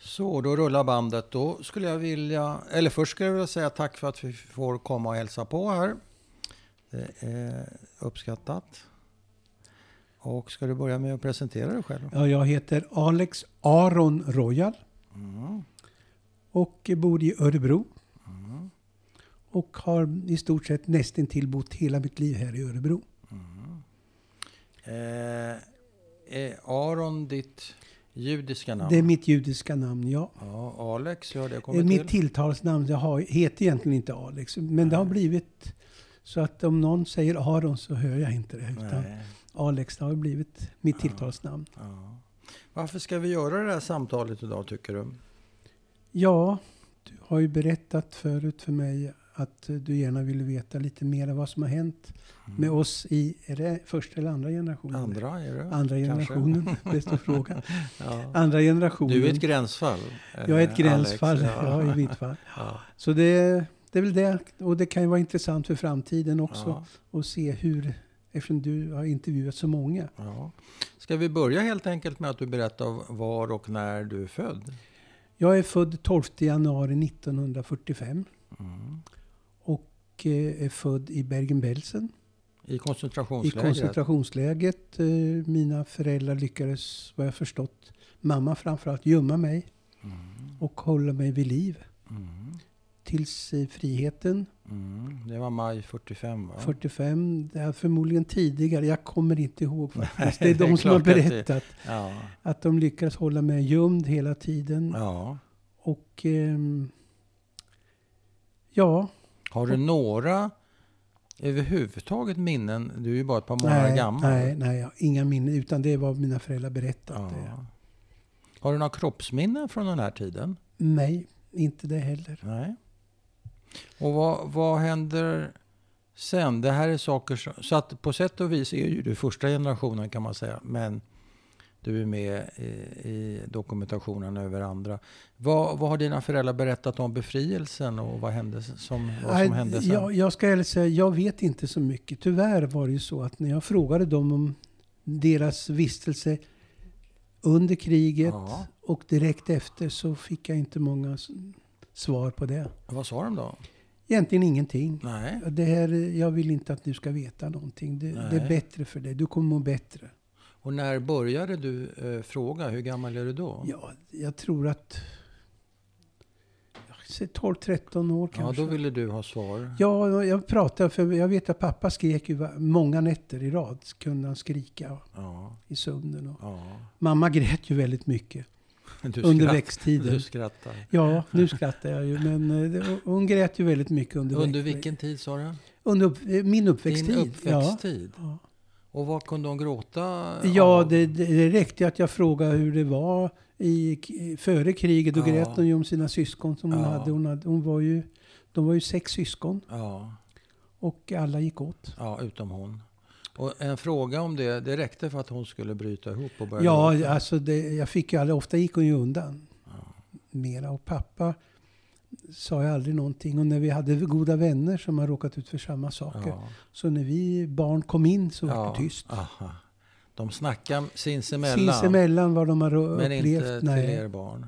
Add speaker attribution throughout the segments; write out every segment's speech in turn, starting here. Speaker 1: Så, då rullar bandet. Då skulle jag vilja, eller först skulle jag vilja säga tack för att vi får komma och hälsa på här. Det är uppskattat. Och ska du börja med att presentera dig själv?
Speaker 2: Ja, jag heter Alex Aron Royal
Speaker 1: Mm.
Speaker 2: och bor i Örebro. Och har i stort sett nästintill bott hela mitt liv här i Örebro.
Speaker 1: Eh, är Aron ditt judiska namn?
Speaker 2: Det är mitt judiska namn, ja.
Speaker 1: Ja, Alex, hur har det
Speaker 2: Det är
Speaker 1: kommit
Speaker 2: mitt
Speaker 1: till?
Speaker 2: tilltalsnamn. Jag har, heter egentligen inte Alex, men det har blivit så att om någon säger Aron så hör jag inte det. Utan
Speaker 1: Nej.
Speaker 2: Alex det har blivit mitt tilltalsnamn.
Speaker 1: Ja. Varför ska vi göra det här samtalet idag tycker du?
Speaker 2: Ja, du har ju berättat förut för mig att eh, du gärna ville veta lite mer om vad som har hänt med oss i, är det första eller andra generationen?
Speaker 1: Mm. Andra är det?
Speaker 2: Andra
Speaker 1: Kanske.
Speaker 2: generationen, bästa fråga.
Speaker 1: Ja.
Speaker 2: Andra generationen.
Speaker 1: Du är ett gränsfall. eh,
Speaker 2: jag är ett gränsfall,
Speaker 1: Alex.
Speaker 2: ja. i mitt fall.
Speaker 1: Ja.
Speaker 2: Så det, det är väl det. Och det kan ju vara intressant för framtiden också.
Speaker 1: Ja.
Speaker 2: och se hur, eftersom du har intervjuat så många.
Speaker 1: Ja. Ska vi börja helt enkelt med att du berättar var och när du är född?
Speaker 2: Jag är född 12 januari 1945 Mm. och eh, är född i Bergen-Belsen
Speaker 1: I
Speaker 2: i
Speaker 1: koncentrationslägret?
Speaker 2: koncentrationslägret. Eh, Mina föräldrar lyckades, vad jag förstått, mamma framförallt, gömma mig och hålla mig vid liv
Speaker 1: Mm.
Speaker 2: tills i friheten
Speaker 1: Mm. Det var maj 45 va?
Speaker 2: 45, det är förmodligen tidigare, jag kommer inte ihåg faktiskt. Det
Speaker 1: Nej,
Speaker 2: är
Speaker 1: det är
Speaker 2: de som har
Speaker 1: klart att det-
Speaker 2: berättat
Speaker 1: Ja.
Speaker 2: att de lyckades hålla mig gömd hela tiden.
Speaker 1: ja.
Speaker 2: Och ehm, ja,
Speaker 1: Har du några överhuvudtaget minnen? Du är ju bara ett par månader
Speaker 2: nej,
Speaker 1: gammal.
Speaker 2: nej, nej, jag har inga minnen. Utan det var mina föräldrar berättat. Eh, Det.
Speaker 1: Ja. Har du några kroppsminnen från den här tiden?
Speaker 2: Nej, inte det heller.
Speaker 1: Nej. Och vad, vad händer sen? Det här är saker som, Så att på sätt och vis är ju du första generationen kan man säga. Men du är med i, i dokumentationen över andra. Vad, vad har dina föräldrar berättat om befrielsen och vad, hände, som, vad som
Speaker 2: Nej,
Speaker 1: hände sen?
Speaker 2: jag, jag ska ärligt säga, jag vet inte så mycket. Tyvärr var det ju så att när jag frågade dem om deras vistelse under kriget
Speaker 1: Ja.
Speaker 2: och direkt efter så fick jag inte många s- svar på det.
Speaker 1: Vad sa de då?
Speaker 2: Egentligen ingenting.
Speaker 1: Nej.
Speaker 2: Det här, jag vill inte att du ska veta någonting. Det, det
Speaker 1: Nej.
Speaker 2: är bättre för dig. Du kommer må bättre.
Speaker 1: Och när började du eh, fråga? Hur gammal är du då?
Speaker 2: Ja, jag tror att... jag säger 12-13 år
Speaker 1: ja
Speaker 2: kanske.
Speaker 1: då ville du ha svar.
Speaker 2: Ja, jag pratade för jag vet att pappa skrek ju va- många nätter i rad. Kunde han skrika
Speaker 1: Ja.
Speaker 2: i sömnen. Och.
Speaker 1: ja.
Speaker 2: Mamma grät ju väldigt mycket
Speaker 1: Du
Speaker 2: under
Speaker 1: skrattar.
Speaker 2: växttiden.
Speaker 1: Du skrattar.
Speaker 2: Ja, nu skrattar jag ju. Men eh, det- hon grät ju väldigt mycket under
Speaker 1: Under
Speaker 2: växt-
Speaker 1: vilken tid sa du?
Speaker 2: Under upp, eh, min uppväxttid.
Speaker 1: Din uppväxttid?
Speaker 2: Ja.
Speaker 1: Och vad kunde de gråta
Speaker 2: Ja, ja
Speaker 1: av?
Speaker 2: det, det det räckte att jag frågade hur det var i, k- före kriget. Då
Speaker 1: Ja.
Speaker 2: grät hon ju om sina syskon som hon
Speaker 1: Ja.
Speaker 2: hade. Hon, hade hon var ju, de var ju sex syskon.
Speaker 1: Ja,
Speaker 2: Och alla gick åt.
Speaker 1: ja, utom hon. Och en fråga om det, det räckte för att hon skulle bryta ihop och börja
Speaker 2: Ja,
Speaker 1: gråta.
Speaker 2: alltså det, jag fick ju aldrig, ofta gick hon ju undan. Mera. Och pappa sa jag aldrig någonting. Och när vi hade goda vänner som har råkat ut för samma saker.
Speaker 1: Ja.
Speaker 2: Så när vi barn kom in så var
Speaker 1: Ja,
Speaker 2: det tyst.
Speaker 1: Aha. De snackar sinsemellan,
Speaker 2: Sinsemellan vad de har ro-
Speaker 1: men
Speaker 2: upplevt.
Speaker 1: inte till
Speaker 2: nej.
Speaker 1: er barn.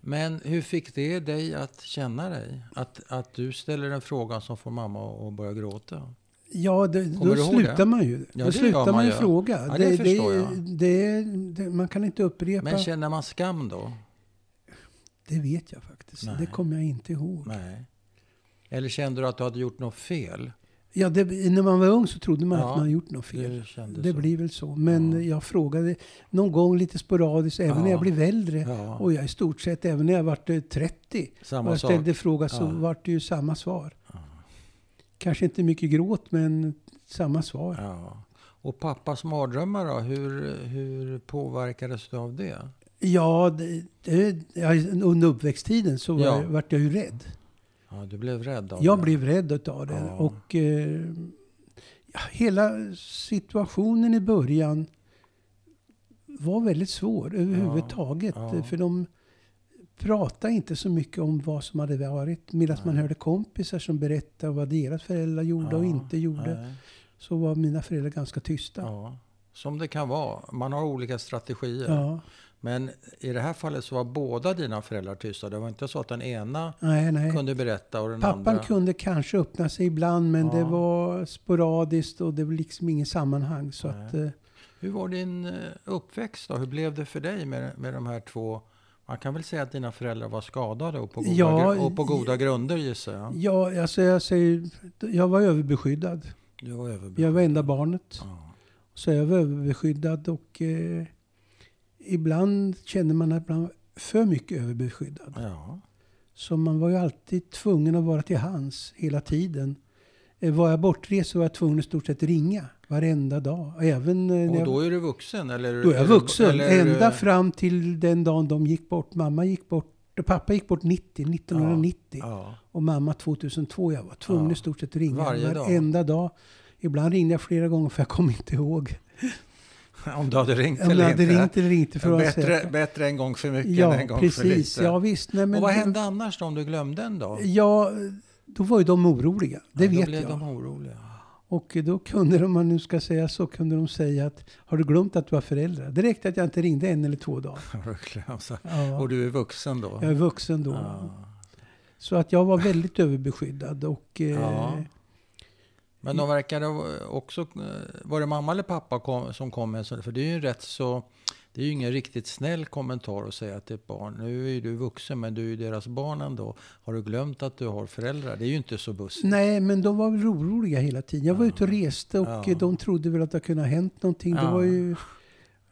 Speaker 1: Men hur fick det dig att känna dig? Att, att du ställer en fråga som får mamma att börja gråta?
Speaker 2: Ja, det,
Speaker 1: Kommer
Speaker 2: då
Speaker 1: du ihåg det?
Speaker 2: slutar man ju.
Speaker 1: det
Speaker 2: då
Speaker 1: gör
Speaker 2: slutar man,
Speaker 1: man
Speaker 2: ju
Speaker 1: ju.
Speaker 2: fråga.
Speaker 1: Ja, det förstår jag.
Speaker 2: Det, det, man kan inte upprepa.
Speaker 1: Men känner man skam då?
Speaker 2: det vet jag faktiskt.
Speaker 1: Nej.
Speaker 2: Det kommer jag inte ihåg.
Speaker 1: Nej. Eller kände du att du hade gjort något fel?
Speaker 2: Ja, det, när man var ung så trodde man
Speaker 1: Ja,
Speaker 2: att man hade gjort något fel.
Speaker 1: Du kände
Speaker 2: Det,
Speaker 1: så.
Speaker 2: blir väl så. Men
Speaker 1: Ja.
Speaker 2: jag frågade någon gång lite sporadiskt, även
Speaker 1: Ja.
Speaker 2: när jag blev äldre.
Speaker 1: Ja.
Speaker 2: Och jag i stort sett, även när jag var eh, 30
Speaker 1: Samma
Speaker 2: och jag
Speaker 1: sak.
Speaker 2: ställde frågan så
Speaker 1: Ja.
Speaker 2: var det ju samma svar. Kanske inte mycket gråt, men samma svar.
Speaker 1: Ja. Och pappas mardrömmar då? Hur, hur påverkades du av det?
Speaker 2: Ja, det, det, ja, under uppväxttiden så var,
Speaker 1: Ja.
Speaker 2: jag- vart jag ju rädd.
Speaker 1: Ja, du blev rädd av
Speaker 2: Jag
Speaker 1: det?
Speaker 2: blev rädd utav det.
Speaker 1: Ja.
Speaker 2: Och eh, ja, hela situationen i början var väldigt svår överhuvudtaget.
Speaker 1: Ja, ja.
Speaker 2: För de pratade inte så mycket om vad som hade varit. Medan man hörde kompisar som berättade vad deras föräldrar gjorde och
Speaker 1: Ja,
Speaker 2: inte gjorde.
Speaker 1: Nej.
Speaker 2: Så var mina föräldrar ganska tysta.
Speaker 1: Ja. Som det kan vara. Man har olika strategier.
Speaker 2: Ja.
Speaker 1: Men i det här fallet så var båda dina föräldrar tysta. Det var inte så att den ena
Speaker 2: Nej, nej.
Speaker 1: kunde berätta och den
Speaker 2: Pappan
Speaker 1: andra...
Speaker 2: kunde kanske öppna sig ibland, men
Speaker 1: Ja.
Speaker 2: det var sporadiskt och det var liksom ingen sammanhang. Så
Speaker 1: Nej.
Speaker 2: att, eh,
Speaker 1: Hur var din eh, uppväxt då? Hur blev det för dig med, med de här två? Man kan väl säga att dina föräldrar var skadade och på goda,
Speaker 2: Ja,
Speaker 1: gru- och på
Speaker 2: i-
Speaker 1: goda grunder gissar jag.
Speaker 2: ja, alltså jag säger, jag var överbeskyddad.
Speaker 1: Du var överbud.
Speaker 2: Jag var enda barnet.
Speaker 1: Ja.
Speaker 2: Så jag var överbeskyddad och eh, ibland kände man att man var för mycket överbeskyddad.
Speaker 1: ja.
Speaker 2: Så man var ju alltid tvungen att vara till hands hela tiden. Eh, var jag bortrest så var jag tvungen att i stort sett ringa varenda dag. Även eh, när
Speaker 1: Och
Speaker 2: jag,
Speaker 1: då är du vuxen? Eller,
Speaker 2: då är jag
Speaker 1: eller-
Speaker 2: vuxen.
Speaker 1: eller-
Speaker 2: Ända fram till den dagen de gick bort. Mamma gick bort. Pappa gick bort 90, 1990
Speaker 1: Ja.
Speaker 2: och mamma 2002. Jag var tvungen
Speaker 1: Ja.
Speaker 2: i stort sett att ringa
Speaker 1: Varje dag.
Speaker 2: varenda dag. Ibland ringde jag flera gånger för jag kom inte ihåg.
Speaker 1: Om du hade ringt
Speaker 2: Om
Speaker 1: eller
Speaker 2: jag hade
Speaker 1: inte.
Speaker 2: ringt eller inte för att vara
Speaker 1: bättre,
Speaker 2: säker.
Speaker 1: bättre en gång för mycket
Speaker 2: Ja,
Speaker 1: än en gång för
Speaker 2: precis.
Speaker 1: lite.
Speaker 2: Ja, visst. Nej, men
Speaker 1: och vad hände annars då, om du glömde en dag?
Speaker 2: Ja, då var ju de oroliga. Det
Speaker 1: Ja, då
Speaker 2: vet
Speaker 1: blev
Speaker 2: jag.
Speaker 1: de oroliga.
Speaker 2: Och då kunde de, om man nu ska säga så, kunde de säga att har du glömt att du var förälder? Det räckte att jag inte ringde en eller två dagar.
Speaker 1: Har du glömt så?
Speaker 2: Ja,
Speaker 1: Alltså, Och du är vuxen då?
Speaker 2: jag är vuxen då.
Speaker 1: Ja.
Speaker 2: Så att jag var väldigt överbeskyddad. Och, eh,
Speaker 1: Ja. Men de verkade också... eh, Var det mamma eller pappa kom, som kom med en sån- För det är ju en rätt så... Det är ju ingen riktigt snäll kommentar att säga till ett barn. Nu är ju du vuxen, men du är ju deras barn ändå. Har du glömt att du har föräldrar? Det är ju inte så bussigt.
Speaker 2: Nej, men de var väl oroliga hela tiden. Jag var
Speaker 1: Ja.
Speaker 2: ute och reste och
Speaker 1: Ja.
Speaker 2: eh, de trodde väl att det kunde ha hänt någonting. Det
Speaker 1: Ja.
Speaker 2: var ju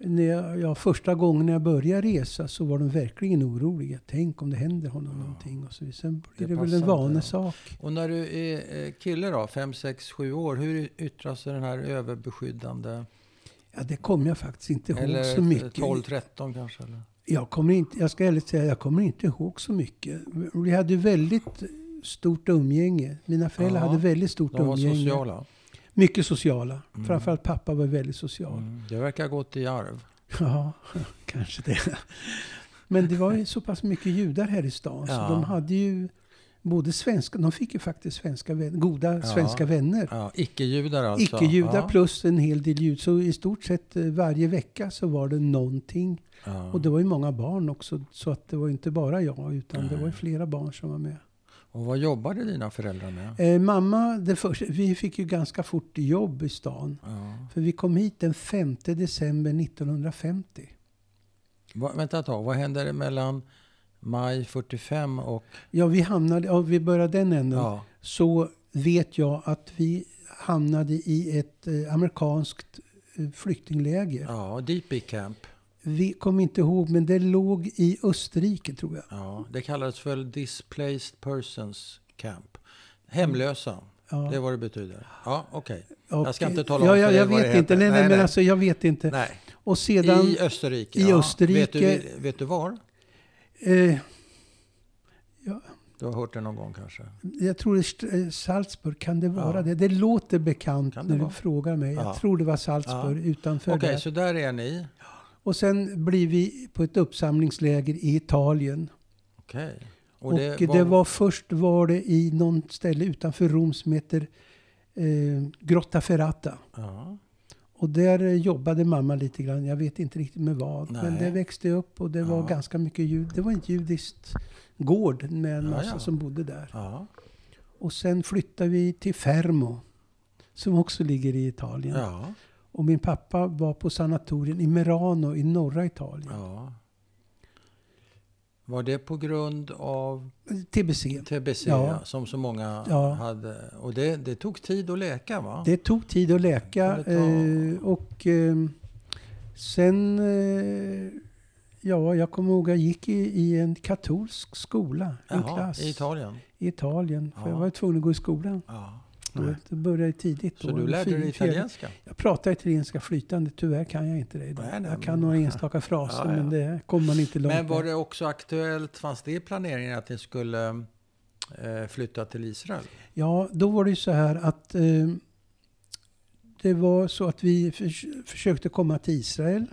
Speaker 2: när jag, ja, första gången när jag började resa så var de verkligen oroliga. Tänk om det händer honom någonting. Och så. Sen
Speaker 1: Det
Speaker 2: blir det, väl
Speaker 1: passar
Speaker 2: en
Speaker 1: inte
Speaker 2: vanesak.
Speaker 1: Och när du är eh, kille då, 5, 6, 7 år, hur yttrar sig den här överbeskyddande?
Speaker 2: Ja, det kommer jag faktiskt inte ihåg
Speaker 1: Eller
Speaker 2: så mycket.
Speaker 1: 12, 13 kanske? Eller?
Speaker 2: Jag, kommer inte, jag ska ärligt säga, jag kommer inte ihåg så mycket. Vi hade ju väldigt stort umgänge. Mina föräldrar
Speaker 1: Ja.
Speaker 2: hade väldigt stort
Speaker 1: De var
Speaker 2: umgänge.
Speaker 1: sociala.
Speaker 2: Mycket sociala.
Speaker 1: Mm.
Speaker 2: Framförallt pappa var väldigt social.
Speaker 1: Mm. Det verkar ha gått i arv.
Speaker 2: Ja, kanske det. Men det var ju så pass mycket judar här i stan
Speaker 1: Ja.
Speaker 2: så de hade ju både svenska, de fick ju faktiskt svenska vänner, goda
Speaker 1: Ja.
Speaker 2: svenska vänner.
Speaker 1: Ja, Icke-judar alltså?
Speaker 2: Icke-judar
Speaker 1: ja.
Speaker 2: plus en hel del jud. Så i stort sett eh, varje vecka så var det någonting.
Speaker 1: Ja.
Speaker 2: Och det var ju många barn också. Så att det var ju inte bara jag utan det
Speaker 1: Nej.
Speaker 2: var ju flera barn som var med.
Speaker 1: Och vad jobbade dina föräldrar med?
Speaker 2: Eh, mamma, det första, vi fick ju ganska fort jobb i stan.
Speaker 1: Ja.
Speaker 2: För vi kom hit den 5 december 1950.
Speaker 1: Va, vänta ett tag, vad hände mellan maj 45 och...
Speaker 2: Ja, vi hamnade, ja, vi började den änden.
Speaker 1: Ja.
Speaker 2: så vet jag att vi hamnade i ett eh, amerikanskt eh, flyktingläger.
Speaker 1: ja, Deepy Camp.
Speaker 2: Vi kommer inte ihåg, men det låg i Österrike tror jag.
Speaker 1: Ja, det kallades väl Displaced Persons Camp. Hemlösa,
Speaker 2: Ja, Eh.
Speaker 1: det är vad det betyder. Ja, okej.
Speaker 2: och-
Speaker 1: jag ska inte tala om
Speaker 2: ja,
Speaker 1: för
Speaker 2: ja,
Speaker 1: dig
Speaker 2: Jag
Speaker 1: vad det
Speaker 2: vet inte,
Speaker 1: heter.
Speaker 2: nej, nej,
Speaker 1: Nej,
Speaker 2: men
Speaker 1: nej.
Speaker 2: alltså jag vet inte.
Speaker 1: Nej.
Speaker 2: Och sedan,
Speaker 1: I Österrike.
Speaker 2: i
Speaker 1: ja.
Speaker 2: Österrike-
Speaker 1: Vet du, vet du var?
Speaker 2: eh,
Speaker 1: Du har hört det någon gång kanske?
Speaker 2: jag tror det st- eh, Salzburg, kan det vara
Speaker 1: Ja.
Speaker 2: det? Det låter bekant
Speaker 1: Kan det
Speaker 2: när du
Speaker 1: vara?
Speaker 2: frågar mig.
Speaker 1: Ja.
Speaker 2: Jag tror det var Salzburg utanför
Speaker 1: Okej,
Speaker 2: där.
Speaker 1: så där är ni.
Speaker 2: Och sen blir vi på ett uppsamlingsläger i Italien.
Speaker 1: Okej.
Speaker 2: Och det, var... först var det i någon ställe utanför Rom som heter eh, Grotta Ferrata.
Speaker 1: Ja.
Speaker 2: Och där eh, jobbade mamma lite grann. Jag vet inte riktigt med vad. Men
Speaker 1: Nej.
Speaker 2: det växte upp och det var
Speaker 1: Ja.
Speaker 2: ganska mycket jud. Det var en judiskt gård med en
Speaker 1: Ja,
Speaker 2: massa
Speaker 1: ja.
Speaker 2: som bodde där.
Speaker 1: Ja.
Speaker 2: Och sen flyttade vi till Fermo. Som också ligger i Italien.
Speaker 1: Ja.
Speaker 2: Och min pappa var på sanatorien i Merano i norra Italien.
Speaker 1: ja. Var det på grund av
Speaker 2: TBC.
Speaker 1: TBC
Speaker 2: Ja.
Speaker 1: ja. som så många
Speaker 2: Ja.
Speaker 1: hade? Och det, det tog tid att läka va?
Speaker 2: Det tog tid att läka
Speaker 1: Det kunde
Speaker 2: eh, och eh, sen, eh, ja jag kommer ihåg jag gick i, i en katolsk skola, en
Speaker 1: Jaha,
Speaker 2: klass
Speaker 1: i Italien?
Speaker 2: i Italien. För
Speaker 1: Ja.
Speaker 2: jag var tvungen att gå i skolan.
Speaker 1: Ja.
Speaker 2: Då det började tidigt.
Speaker 1: Så
Speaker 2: då,
Speaker 1: du
Speaker 2: en
Speaker 1: lärde
Speaker 2: fin-
Speaker 1: dig
Speaker 2: fjärde-
Speaker 1: italienska?
Speaker 2: Jag pratar italienska flytande, tyvärr kan jag inte det idag.
Speaker 1: Nej, nej,
Speaker 2: jag kan
Speaker 1: men-
Speaker 2: några enstaka fraser
Speaker 1: Ja, ja.
Speaker 2: men det kommer man inte långt
Speaker 1: Men var
Speaker 2: med.
Speaker 1: det också aktuellt, fanns det i planeringen att ni skulle eh, flytta till Israel?
Speaker 2: Ja, då var det ju så här att eh, det var så att vi förs försökte komma till Israel.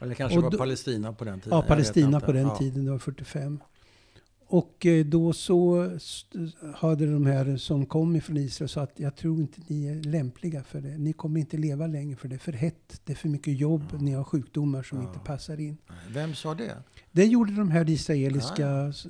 Speaker 1: Eller kanske
Speaker 2: Och
Speaker 1: var
Speaker 2: då-
Speaker 1: Palestina på den tiden?
Speaker 2: Ja,
Speaker 1: jag vet
Speaker 2: Palestina
Speaker 1: inte.
Speaker 2: på den
Speaker 1: Ja.
Speaker 2: tiden, det var 45. Och eh, då så st- hade de här som kom ifrån Israel sagt att jag tror inte ni är lämpliga för det. Ni kommer inte leva länge för det är för hett. Det är för mycket jobb.
Speaker 1: Ja.
Speaker 2: Ni har sjukdomar som
Speaker 1: Ja.
Speaker 2: inte passar in.
Speaker 1: Vem sa det?
Speaker 2: Det gjorde de här israeliska
Speaker 1: Ja.
Speaker 2: s-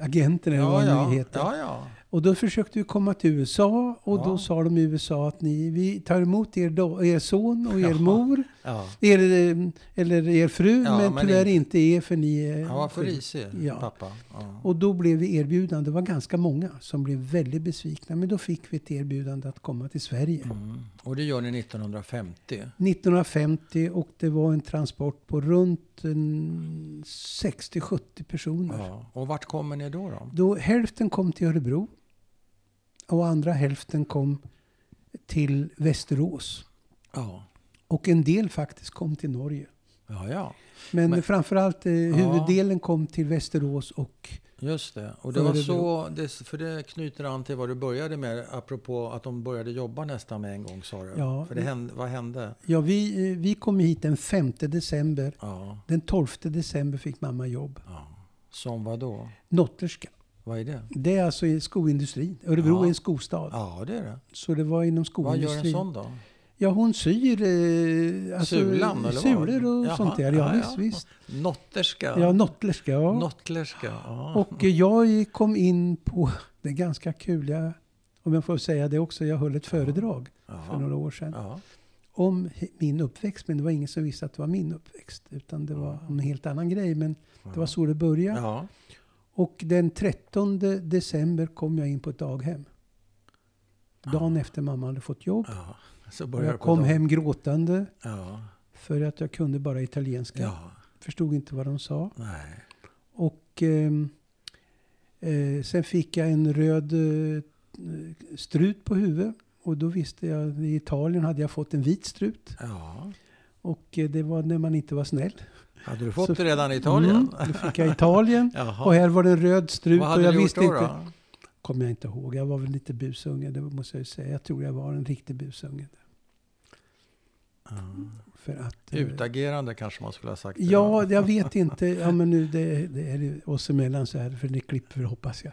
Speaker 2: agenterna eller vad de nu
Speaker 1: ja,
Speaker 2: heter.
Speaker 1: ja, ja.
Speaker 2: Och då försökte vi komma till USA och
Speaker 1: Ja.
Speaker 2: då sa de i USA att ni, vi tar emot er, do, er son och er
Speaker 1: Ja.
Speaker 2: mor,
Speaker 1: ja.
Speaker 2: er, eh, eller er fru,
Speaker 1: Ja,
Speaker 2: men
Speaker 1: men
Speaker 2: tyvärr
Speaker 1: inte-
Speaker 2: inte er för ni är...
Speaker 1: Han var för risig,
Speaker 2: Ja.
Speaker 1: pappa. Ja.
Speaker 2: Och då blev vi erbjudande, det var ganska många som blev väldigt besvikna, men då fick vi ett erbjudande att komma till Sverige.
Speaker 1: Mm. och det gör ni 1950.
Speaker 2: 1950 och det var en transport på runt eh, 60-70 personer.
Speaker 1: Ja. Och vart kommer ni då? då?
Speaker 2: Då hälften kom till Örebro och andra hälften kom till Västerås.
Speaker 1: Ja.
Speaker 2: Och en del faktiskt kom till Norge.
Speaker 1: ja, ja,
Speaker 2: Men,
Speaker 1: Men-
Speaker 2: framförallt eh,
Speaker 1: Ja.
Speaker 2: huvuddelen kom till Västerås och
Speaker 1: just det. Och det
Speaker 2: Örebro.
Speaker 1: var så, det, för det knyter an till vad du började med, apropå att de började jobba nästan med en gång sa du.
Speaker 2: Ja.
Speaker 1: För det hände, vad hände?
Speaker 2: ja, vi, eh, vi kom hit den 5 december.
Speaker 1: Ja.
Speaker 2: Den 12 december fick mamma jobb.
Speaker 1: ja. Som vad då?
Speaker 2: Notterska.
Speaker 1: Vad är det?
Speaker 2: Det är alltså i skoindustrin. Örebro
Speaker 1: Ja.
Speaker 2: är en skostad.
Speaker 1: Ja, det är det.
Speaker 2: Så det var inom
Speaker 1: Vad gör
Speaker 2: skoindustrin.
Speaker 1: en sån då?
Speaker 2: Ja, hon syr eh, alltså,
Speaker 1: Sulan eller vad?
Speaker 2: sulor och
Speaker 1: Jaha.
Speaker 2: sånt där. Ja,
Speaker 1: Ja, ja.
Speaker 2: visst, visst.
Speaker 1: Notterska?
Speaker 2: Ja, nottlerska. Ja.
Speaker 1: Nottlerska? Ja.
Speaker 2: Och eh, jag kom in på det ganska kul, jag, om jag får säga det också, jag höll ett föredrag för
Speaker 1: ja.
Speaker 2: några år sedan
Speaker 1: ja.
Speaker 2: om he- min uppväxt. Men det var ingen som visste att det var min uppväxt, utan det var en helt annan grej. Men det var så det började.
Speaker 1: Ja.
Speaker 2: Och den 13 december kom jag in på ett daghem. Dagen efter mamma hade fått jobb.
Speaker 1: ja. Så
Speaker 2: Och
Speaker 1: började
Speaker 2: jag
Speaker 1: Ah. på
Speaker 2: kom
Speaker 1: dem.
Speaker 2: hem gråtande
Speaker 1: Ja.
Speaker 2: för att jag kunde bara italienska.
Speaker 1: ja.
Speaker 2: Förstod inte vad de sa.
Speaker 1: Nej.
Speaker 2: Och ehm, eh, sen fick jag en röd eh, strut på huvudet. Och då visste jag, i Italien hade jag fått en vit strut.
Speaker 1: Ja.
Speaker 2: Och eh, det var när man inte var snäll.
Speaker 1: Hade du fått
Speaker 2: Så-
Speaker 1: det redan i Italien?
Speaker 2: Mm, då fick jag Italien.
Speaker 1: Jaha.
Speaker 2: Och här var det en röd strut.
Speaker 1: Vad
Speaker 2: och
Speaker 1: hade
Speaker 2: jag
Speaker 1: du gjort
Speaker 2: visste
Speaker 1: då?
Speaker 2: inte.
Speaker 1: då?
Speaker 2: Kommer jag inte ihåg. Jag var väl lite busunge, det måste jag ju säga. Jag tror jag var en riktig busunge.
Speaker 1: Ja.
Speaker 2: För att... eh,
Speaker 1: Mm. Utagerande kanske man skulle ha sagt. det
Speaker 2: Ja,
Speaker 1: då.
Speaker 2: jag vet inte. Ja, men nu, det, det är ju oss emellan så här, för det klipper hoppas jag.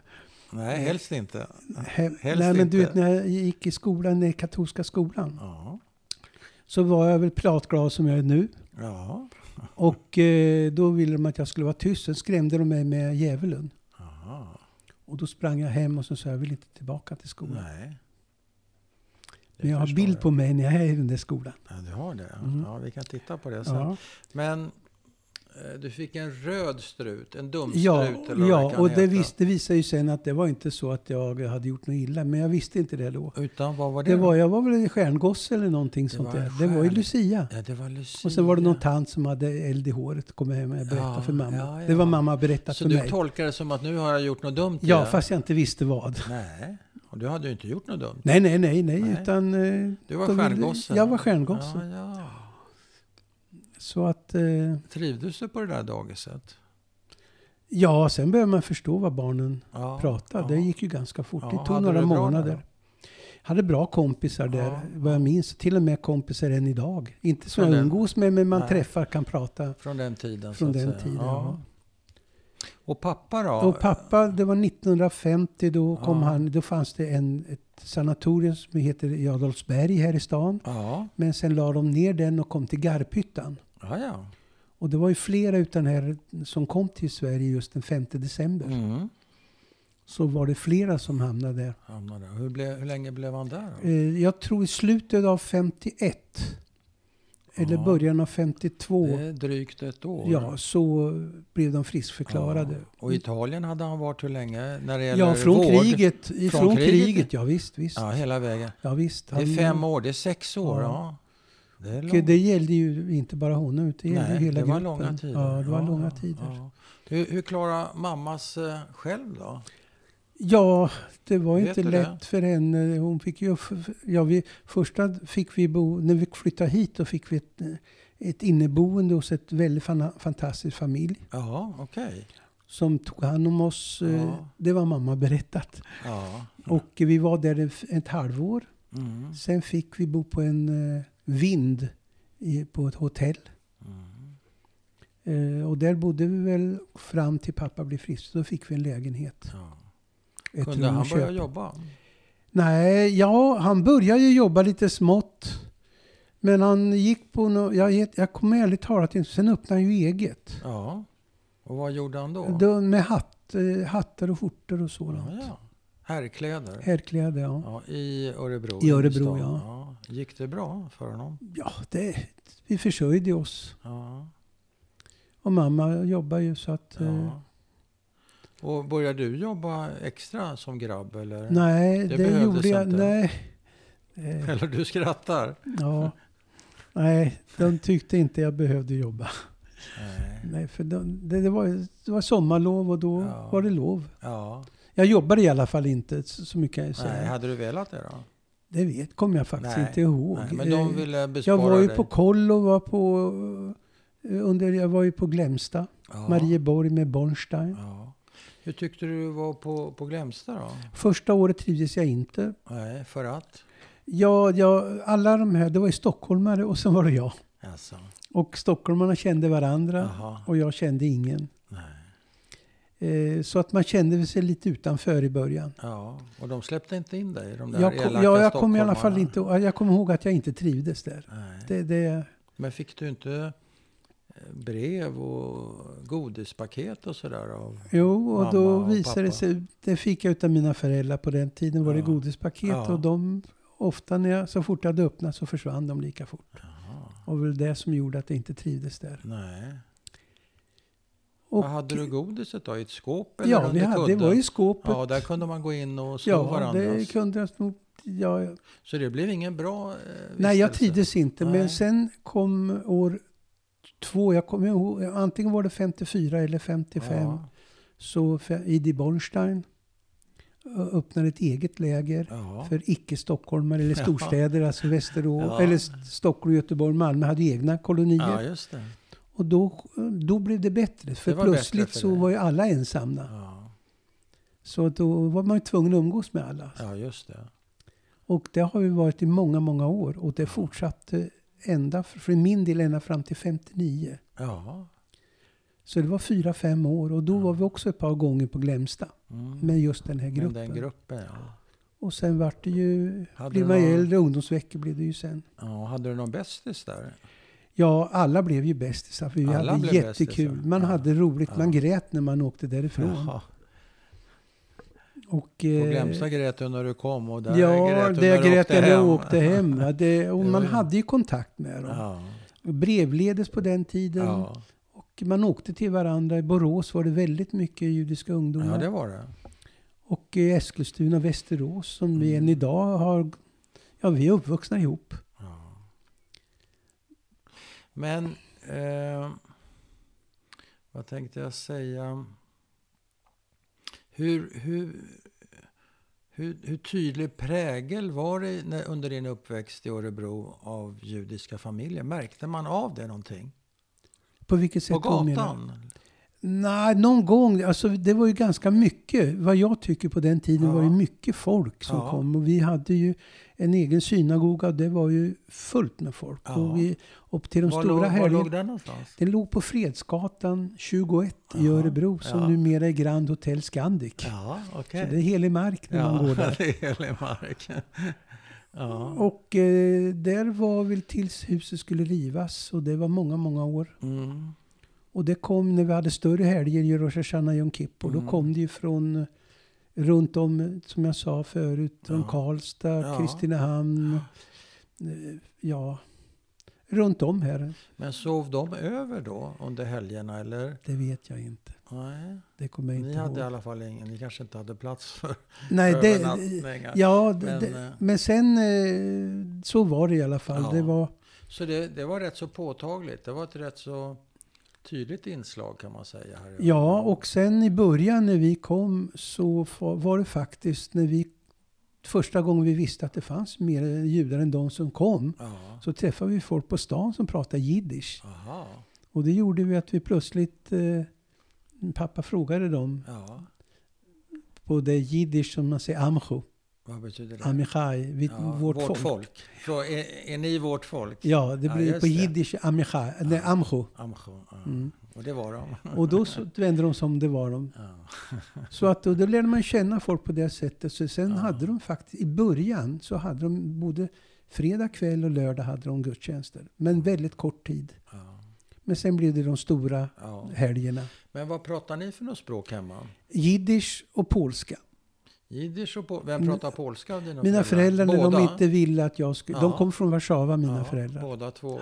Speaker 1: Nej, helst inte.
Speaker 2: He,
Speaker 1: Helst
Speaker 2: nej, men du
Speaker 1: inte.
Speaker 2: vet när jag gick i skolan, i katolska skolan,
Speaker 1: Ja.
Speaker 2: så var jag väl pratglad som jag är nu.
Speaker 1: Ja.
Speaker 2: Och eh, då ville de att jag skulle vara tyst. Sen skrämde de mig med djävulen.
Speaker 1: Jaha.
Speaker 2: Och då sprang jag hem och så sa jag, jag vill inte tillbaka till skolan.
Speaker 1: Nej. Det
Speaker 2: men jag har
Speaker 1: förstår
Speaker 2: bild
Speaker 1: jag.
Speaker 2: på mig när jag är i den där skolan.
Speaker 1: Ja, du har det?
Speaker 2: Mm.
Speaker 1: Ja, vi kan titta på det sen.
Speaker 2: Ja,
Speaker 1: Men eh, du fick en röd strut, en dumstrut
Speaker 2: ja,
Speaker 1: eller vad det
Speaker 2: ja
Speaker 1: kan
Speaker 2: och det,
Speaker 1: heta.
Speaker 2: visste, det visade ju sen att det var inte så att jag hade gjort något illa. Men jag visste inte det då.
Speaker 1: Utan vad var det?
Speaker 2: Det
Speaker 1: då?
Speaker 2: var, jag var väl en stjärngosse eller någonting sånt
Speaker 1: var
Speaker 2: där.
Speaker 1: en
Speaker 2: Det var ju
Speaker 1: stjärn.
Speaker 2: Lucia.
Speaker 1: Ja, det var Lucia.
Speaker 2: Och sen var det någon tant som hade eld i håret, kom jag hem och berättade
Speaker 1: Ja,
Speaker 2: för mamma.
Speaker 1: ja, ja.
Speaker 2: Det var mamma berättat
Speaker 1: Så
Speaker 2: för
Speaker 1: du
Speaker 2: mig.
Speaker 1: tolkar det som att nu har jag gjort något dumt?
Speaker 2: Ja,
Speaker 1: igen?
Speaker 2: fast jag inte visste vad.
Speaker 1: Nej, och du hade ju inte gjort något dumt.
Speaker 2: Nej, nej, nej, nej,
Speaker 1: Nej.
Speaker 2: utan... eh,
Speaker 1: Du var
Speaker 2: de ville-
Speaker 1: stjärngosse.
Speaker 2: Jag var stjärngosse.
Speaker 1: Ja, ja.
Speaker 2: Så att... eh,
Speaker 1: Trivdes du på det där dagiset?
Speaker 2: Ja, sen började man förstå vad barnen
Speaker 1: Ja,
Speaker 2: pratade.
Speaker 1: ja.
Speaker 2: Det gick ju ganska fort.
Speaker 1: Ja,
Speaker 2: det tog
Speaker 1: hade
Speaker 2: några
Speaker 1: du det bra
Speaker 2: månader.
Speaker 1: där?
Speaker 2: hade bra kompisar där,
Speaker 1: Ja.
Speaker 2: vad jag minns. Till och med kompisar än idag. Inte som
Speaker 1: Från
Speaker 2: jag
Speaker 1: den-
Speaker 2: umgås med, men man
Speaker 1: Nej.
Speaker 2: träffar, kan prata
Speaker 1: Från den tiden? så
Speaker 2: från
Speaker 1: att
Speaker 2: den
Speaker 1: säga.
Speaker 2: tiden. ja.
Speaker 1: Och pappa då?
Speaker 2: Och pappa, det var 1950, då, kom
Speaker 1: Ja.
Speaker 2: han, då fanns det en, ett sanatorium som heter i Adolfsberg här i stan.
Speaker 1: Ja,
Speaker 2: Men sen la de ner den och kom till Garphyttan.
Speaker 1: ja. ja.
Speaker 2: Och det var ju flera utan här som kom till Sverige just den 5 december.
Speaker 1: Mm.
Speaker 2: Så var det flera som hamnade där.
Speaker 1: Hamnade. Hur, blev, hur länge blev han där? Då?
Speaker 2: Eh, jag tror i slutet av 51, eller
Speaker 1: Ja.
Speaker 2: början av 52,
Speaker 1: Det är drygt ett år.
Speaker 2: ja, så blev de friskförklarade. Mm.
Speaker 1: Ja. Och i Italien hade han varit hur länge? När det gäller
Speaker 2: Ja, från
Speaker 1: vård?
Speaker 2: kriget. Ifrån kriget.
Speaker 1: kriget?
Speaker 2: ja visst, visst.
Speaker 1: Ja,
Speaker 2: Ja,
Speaker 1: hela vägen.
Speaker 2: visst.
Speaker 1: Det är
Speaker 2: Han-
Speaker 1: fem år, det är sex år.
Speaker 2: Ja.
Speaker 1: Ja. Det är
Speaker 2: Och
Speaker 1: långt.
Speaker 2: det gällde ju inte bara honom, utan det gällde
Speaker 1: Nej,
Speaker 2: ju hela
Speaker 1: det var
Speaker 2: gruppen.
Speaker 1: långa tider.
Speaker 2: Ja, det var
Speaker 1: Ja,
Speaker 2: långa
Speaker 1: ja,
Speaker 2: tider. Ja,
Speaker 1: ja. Hur, hur klarar mammas eh, själv då?
Speaker 2: det var ju
Speaker 1: Vet
Speaker 2: inte
Speaker 1: du
Speaker 2: lätt
Speaker 1: det?
Speaker 2: för henne. Hon fick ju, ja, vi, första fick vi bo, när vi flyttade hit, då fick vi ett, eh, ett inneboende hos ett väldigt fan, fantastisk familj.
Speaker 1: Ja, okej.
Speaker 2: Som tog hand om oss. eh,
Speaker 1: Ja.
Speaker 2: Det var mamma berättat.
Speaker 1: Ja.
Speaker 2: Och vi var där ett, ett halvår.
Speaker 1: Mm.
Speaker 2: Sen fick vi bo på en eh, vind i, på ett hotell.
Speaker 1: Mm.
Speaker 2: Eh, och där bodde vi väl fram till pappa blev frisk. Så Då fick vi en lägenhet.
Speaker 1: Ja.
Speaker 2: Ett
Speaker 1: Kunde
Speaker 2: rum
Speaker 1: han
Speaker 2: och
Speaker 1: börja
Speaker 2: kök.
Speaker 1: jobba?
Speaker 2: Nej, ja, han började ju jobba lite smått. Men han gick på no, jag, vet- jag kommer ärligt talat inte... Sen öppnade han ju eget.
Speaker 1: Ja. Och vad gjorde han då?
Speaker 2: Då, med hatt, eh, hattar och skjortor och sådant.
Speaker 1: ja, ja. Herrkläder?
Speaker 2: Herrkläder, ja.
Speaker 1: Ja, I Örebro?
Speaker 2: I Örebro,
Speaker 1: innerstan.
Speaker 2: ja.
Speaker 1: ja. Gick det bra för honom?
Speaker 2: Ja, det, vi försörjde oss.
Speaker 1: Ja.
Speaker 2: Och mamma jobbar ju så att... Eh,
Speaker 1: ja. Och började du jobba extra som grabb? Eller,
Speaker 2: nej,
Speaker 1: Det
Speaker 2: det,
Speaker 1: behövdes
Speaker 2: gjorde jag...
Speaker 1: inte.
Speaker 2: Nej. Eh,
Speaker 1: eller du skrattar?
Speaker 2: ja. Nej, de tyckte inte jag behövde jobba.
Speaker 1: Nej.
Speaker 2: Nej, för de, det, det, var, det var sommarlov och då
Speaker 1: Ja.
Speaker 2: var det lov.
Speaker 1: Ja.
Speaker 2: Jag jobbade i alla fall inte, så, så mycket kan jag säga.
Speaker 1: Nej, hade du velat det då?
Speaker 2: Det vet, kommer jag faktiskt
Speaker 1: Nej,
Speaker 2: inte ihåg.
Speaker 1: Nej, men de
Speaker 2: Eh,
Speaker 1: ville bespara
Speaker 2: jag var ju
Speaker 1: dig.
Speaker 2: på koll och var på... eh, Under, jag var ju på Glämsta,
Speaker 1: ja.
Speaker 2: Marieborg med Bornstein.
Speaker 1: Ja. Hur tyckte du var på, på Glämsta då?
Speaker 2: Första året trivdes jag inte.
Speaker 1: Nej, för att?
Speaker 2: Ja, ja, alla de här, det var ju stockholmare och sen var det jag.
Speaker 1: Alltså.
Speaker 2: Och stockholmarna kände varandra
Speaker 1: Jaha.
Speaker 2: och jag kände ingen.
Speaker 1: Nej.
Speaker 2: Eh, så att man kände sig lite utanför i början.
Speaker 1: Ja, och de släppte inte in dig? De där
Speaker 2: Jag kom,
Speaker 1: elaka
Speaker 2: ja, jag kommer i alla fall
Speaker 1: stockholmarna?
Speaker 2: inte jag kommer ihåg att jag inte trivdes där.
Speaker 1: Nej.
Speaker 2: Det, det,
Speaker 1: Men fick du inte eh, brev och godispaket och sådär? Av...
Speaker 2: jo, och då
Speaker 1: Mamma och
Speaker 2: visade det
Speaker 1: pappa.
Speaker 2: sig, det fick jag utav mina föräldrar på den tiden var det
Speaker 1: Ja.
Speaker 2: godispaket
Speaker 1: Ja.
Speaker 2: och de, ofta när jag, så fort jag hade öppnat så försvann de lika fort.
Speaker 1: Jaha.
Speaker 2: Och väl det som gjorde att jag inte trivdes där.
Speaker 1: Nej.
Speaker 2: Och,
Speaker 1: Vad hade du godiset då? I ett skåp? Eller
Speaker 2: ja,
Speaker 1: under
Speaker 2: vi hade, det
Speaker 1: kudden?
Speaker 2: var ju skåpet.
Speaker 1: Ja, där kunde man gå in och slå
Speaker 2: Ja, det
Speaker 1: varandras.
Speaker 2: kunde jag nog... Ja, ja.
Speaker 1: Så det blev ingen bra eh, vistelse?
Speaker 2: nej, jag trivdes inte.
Speaker 1: Nej.
Speaker 2: Men sen kom år två, jag kommer ihåg, antingen var det 54 eller 55.
Speaker 1: Ja.
Speaker 2: Så fe- Idi Bornstein ö, öppnade ett eget läger
Speaker 1: Ja.
Speaker 2: för icke-stockholmare eller
Speaker 1: Ja.
Speaker 2: storstäder, alltså Västerås,
Speaker 1: Ja.
Speaker 2: eller S- Stockholm, Göteborg, Malmö hade egna kolonier.
Speaker 1: ja, just det.
Speaker 2: Och då, då blev det bättre. För
Speaker 1: Det var
Speaker 2: plötsligt
Speaker 1: bättre för
Speaker 2: så
Speaker 1: dig.
Speaker 2: var ju alla ensamma.
Speaker 1: Ja,
Speaker 2: Så då var man ju tvungen att umgås med alla.
Speaker 1: ja just det.
Speaker 2: Och det har ju varit i många, många år. Och det fortsatte ända, för min del ända fram till 59.
Speaker 1: Ja.
Speaker 2: Så det var fyra, fem år. Och då var vi också ett par gånger på Glämsta.
Speaker 1: Mm.
Speaker 2: Med just den här
Speaker 1: Men
Speaker 2: gruppen.
Speaker 1: den gruppen, ja.
Speaker 2: Och sen vart det ju,
Speaker 1: Hade
Speaker 2: blev
Speaker 1: du
Speaker 2: man ju
Speaker 1: någon-
Speaker 2: äldre, ungdomsveckor blev det ju sen.
Speaker 1: ja. Hade du någon bästis där?
Speaker 2: Ja, alla blev ju bästisar. För vi
Speaker 1: Alla
Speaker 2: hade
Speaker 1: blev
Speaker 2: jättekul.
Speaker 1: bästisar.
Speaker 2: Man
Speaker 1: Ja.
Speaker 2: hade roligt. Man
Speaker 1: Ja.
Speaker 2: grät när man åkte därifrån.
Speaker 1: Jaha.
Speaker 2: Och,
Speaker 1: På
Speaker 2: eh,
Speaker 1: Glämsta grät du när du kom och där
Speaker 2: ja,
Speaker 1: grät du
Speaker 2: där
Speaker 1: när du
Speaker 2: grät
Speaker 1: åkte
Speaker 2: jag när jag
Speaker 1: hem.
Speaker 2: åkte hem. va. Det, och
Speaker 1: Det
Speaker 2: man
Speaker 1: var ju-
Speaker 2: hade ju kontakt med dem.
Speaker 1: Ja.
Speaker 2: Brevledes på den tiden.
Speaker 1: Ja.
Speaker 2: Och man åkte till varandra. I Borås var det väldigt mycket judiska ungdomar.
Speaker 1: ja, det var det.
Speaker 2: Och i Eskilstuna och Västerås som vi
Speaker 1: Mm.
Speaker 2: än idag har... Ja, vi är uppvuxna ihop.
Speaker 1: Ja. Men eh, vad tänkte jag säga? Hur, hur, hur, hur tydlig prägel var det när, under din uppväxt i Örebro av judiska familjer? Märkte man av det någonting?
Speaker 2: På vilket sätt
Speaker 1: På
Speaker 2: då, menar du?
Speaker 1: gatan?
Speaker 2: Nej, någon gång. Alltså, det var ju ganska mycket. Vad jag tycker på den tiden
Speaker 1: Ja.
Speaker 2: var ju mycket folk som
Speaker 1: Ja.
Speaker 2: kom. Och vi hade ju en egen synagoga. och Det var ju fullt med folk.
Speaker 1: Ja.
Speaker 2: Och vi, upp till de
Speaker 1: Var, låg,
Speaker 2: stora
Speaker 1: var
Speaker 2: helgerna.
Speaker 1: låg den någonstans?
Speaker 2: Den låg på Fredsgatan 21 i
Speaker 1: Jaha.
Speaker 2: Örebro. Som
Speaker 1: Ja.
Speaker 2: numera är Grand Hotel Scandic.
Speaker 1: Ja, okej.
Speaker 2: Så det är helig mark när man går där.
Speaker 1: det är helig mark. Ja.
Speaker 2: Och eh, där var väl tills huset skulle rivas och det var många, många år.
Speaker 1: Mm.
Speaker 2: Och det kom när vi hade större helger, ju Rosh Hashanah och Yom Kippur.
Speaker 1: Mm.
Speaker 2: Då kom det ju från eh, runt om, eh, som jag sa förut, från
Speaker 1: Ja.
Speaker 2: Karlstad,
Speaker 1: Ja.
Speaker 2: Kristinehamn. eh, Ja, runt om här.
Speaker 1: Men sov de över då under helgerna eller?
Speaker 2: Det vet jag inte.
Speaker 1: Nej.
Speaker 2: Det kommer jag
Speaker 1: Ni
Speaker 2: inte
Speaker 1: hade i
Speaker 2: ihåg.
Speaker 1: alla fall ingen, ni kanske inte hade plats för
Speaker 2: Nej, det,
Speaker 1: övernattningar.
Speaker 2: ja, det,
Speaker 1: Men,
Speaker 2: men,
Speaker 1: eh,
Speaker 2: det, men sen eh, så var det i alla fall.
Speaker 1: Ja.
Speaker 2: Det var...
Speaker 1: Så det, det var rätt så påtagligt. Det var ett rätt så tydligt inslag kan man säga. Här i
Speaker 2: Ja,
Speaker 1: Örebro.
Speaker 2: och sen i början när vi kom så fa- var det faktiskt när vi första gången vi visste att det fanns mer judar än de som kom.
Speaker 1: Ja.
Speaker 2: Så träffade vi folk på stan som pratade jiddisch.
Speaker 1: Aha.
Speaker 2: Och det gjorde vi att vi plötsligt, eh, pappa frågade dem
Speaker 1: Ja.
Speaker 2: på det jiddisch som man säger amcho.
Speaker 1: Vad betyder det?
Speaker 2: Amichai, vi,
Speaker 1: Ja,
Speaker 2: vårt, folk.
Speaker 1: Så är, är ni vårt folk?
Speaker 2: Ja, det
Speaker 1: Ja,
Speaker 2: blir
Speaker 1: just
Speaker 2: på
Speaker 1: det.
Speaker 2: jiddisch amichai, nej, amcho.
Speaker 1: Amcho, ja.
Speaker 2: Mm.
Speaker 1: Och det var de.
Speaker 2: Och då så vände de som det var de.
Speaker 1: Ja.
Speaker 2: Så att, och då lärde man känna folk på det sättet. Så sen
Speaker 1: Ja.
Speaker 2: hade de faktiskt, i början så hade de både fredag kväll och lördag hade de gudstjänster. Men väldigt kort tid.
Speaker 1: Ja.
Speaker 2: Men sen blev det de stora
Speaker 1: Ja.
Speaker 2: helgerna.
Speaker 1: Men vad pratar ni för något språk hemma?
Speaker 2: Jiddisch och polska.
Speaker 1: Jiddisch och pol- Vem pratar polska av dina
Speaker 2: Mina föräldrar när de inte ville att jag skulle... De
Speaker 1: Ja.
Speaker 2: kom från Warszawa mina
Speaker 1: Ja,
Speaker 2: föräldrar.
Speaker 1: Båda två.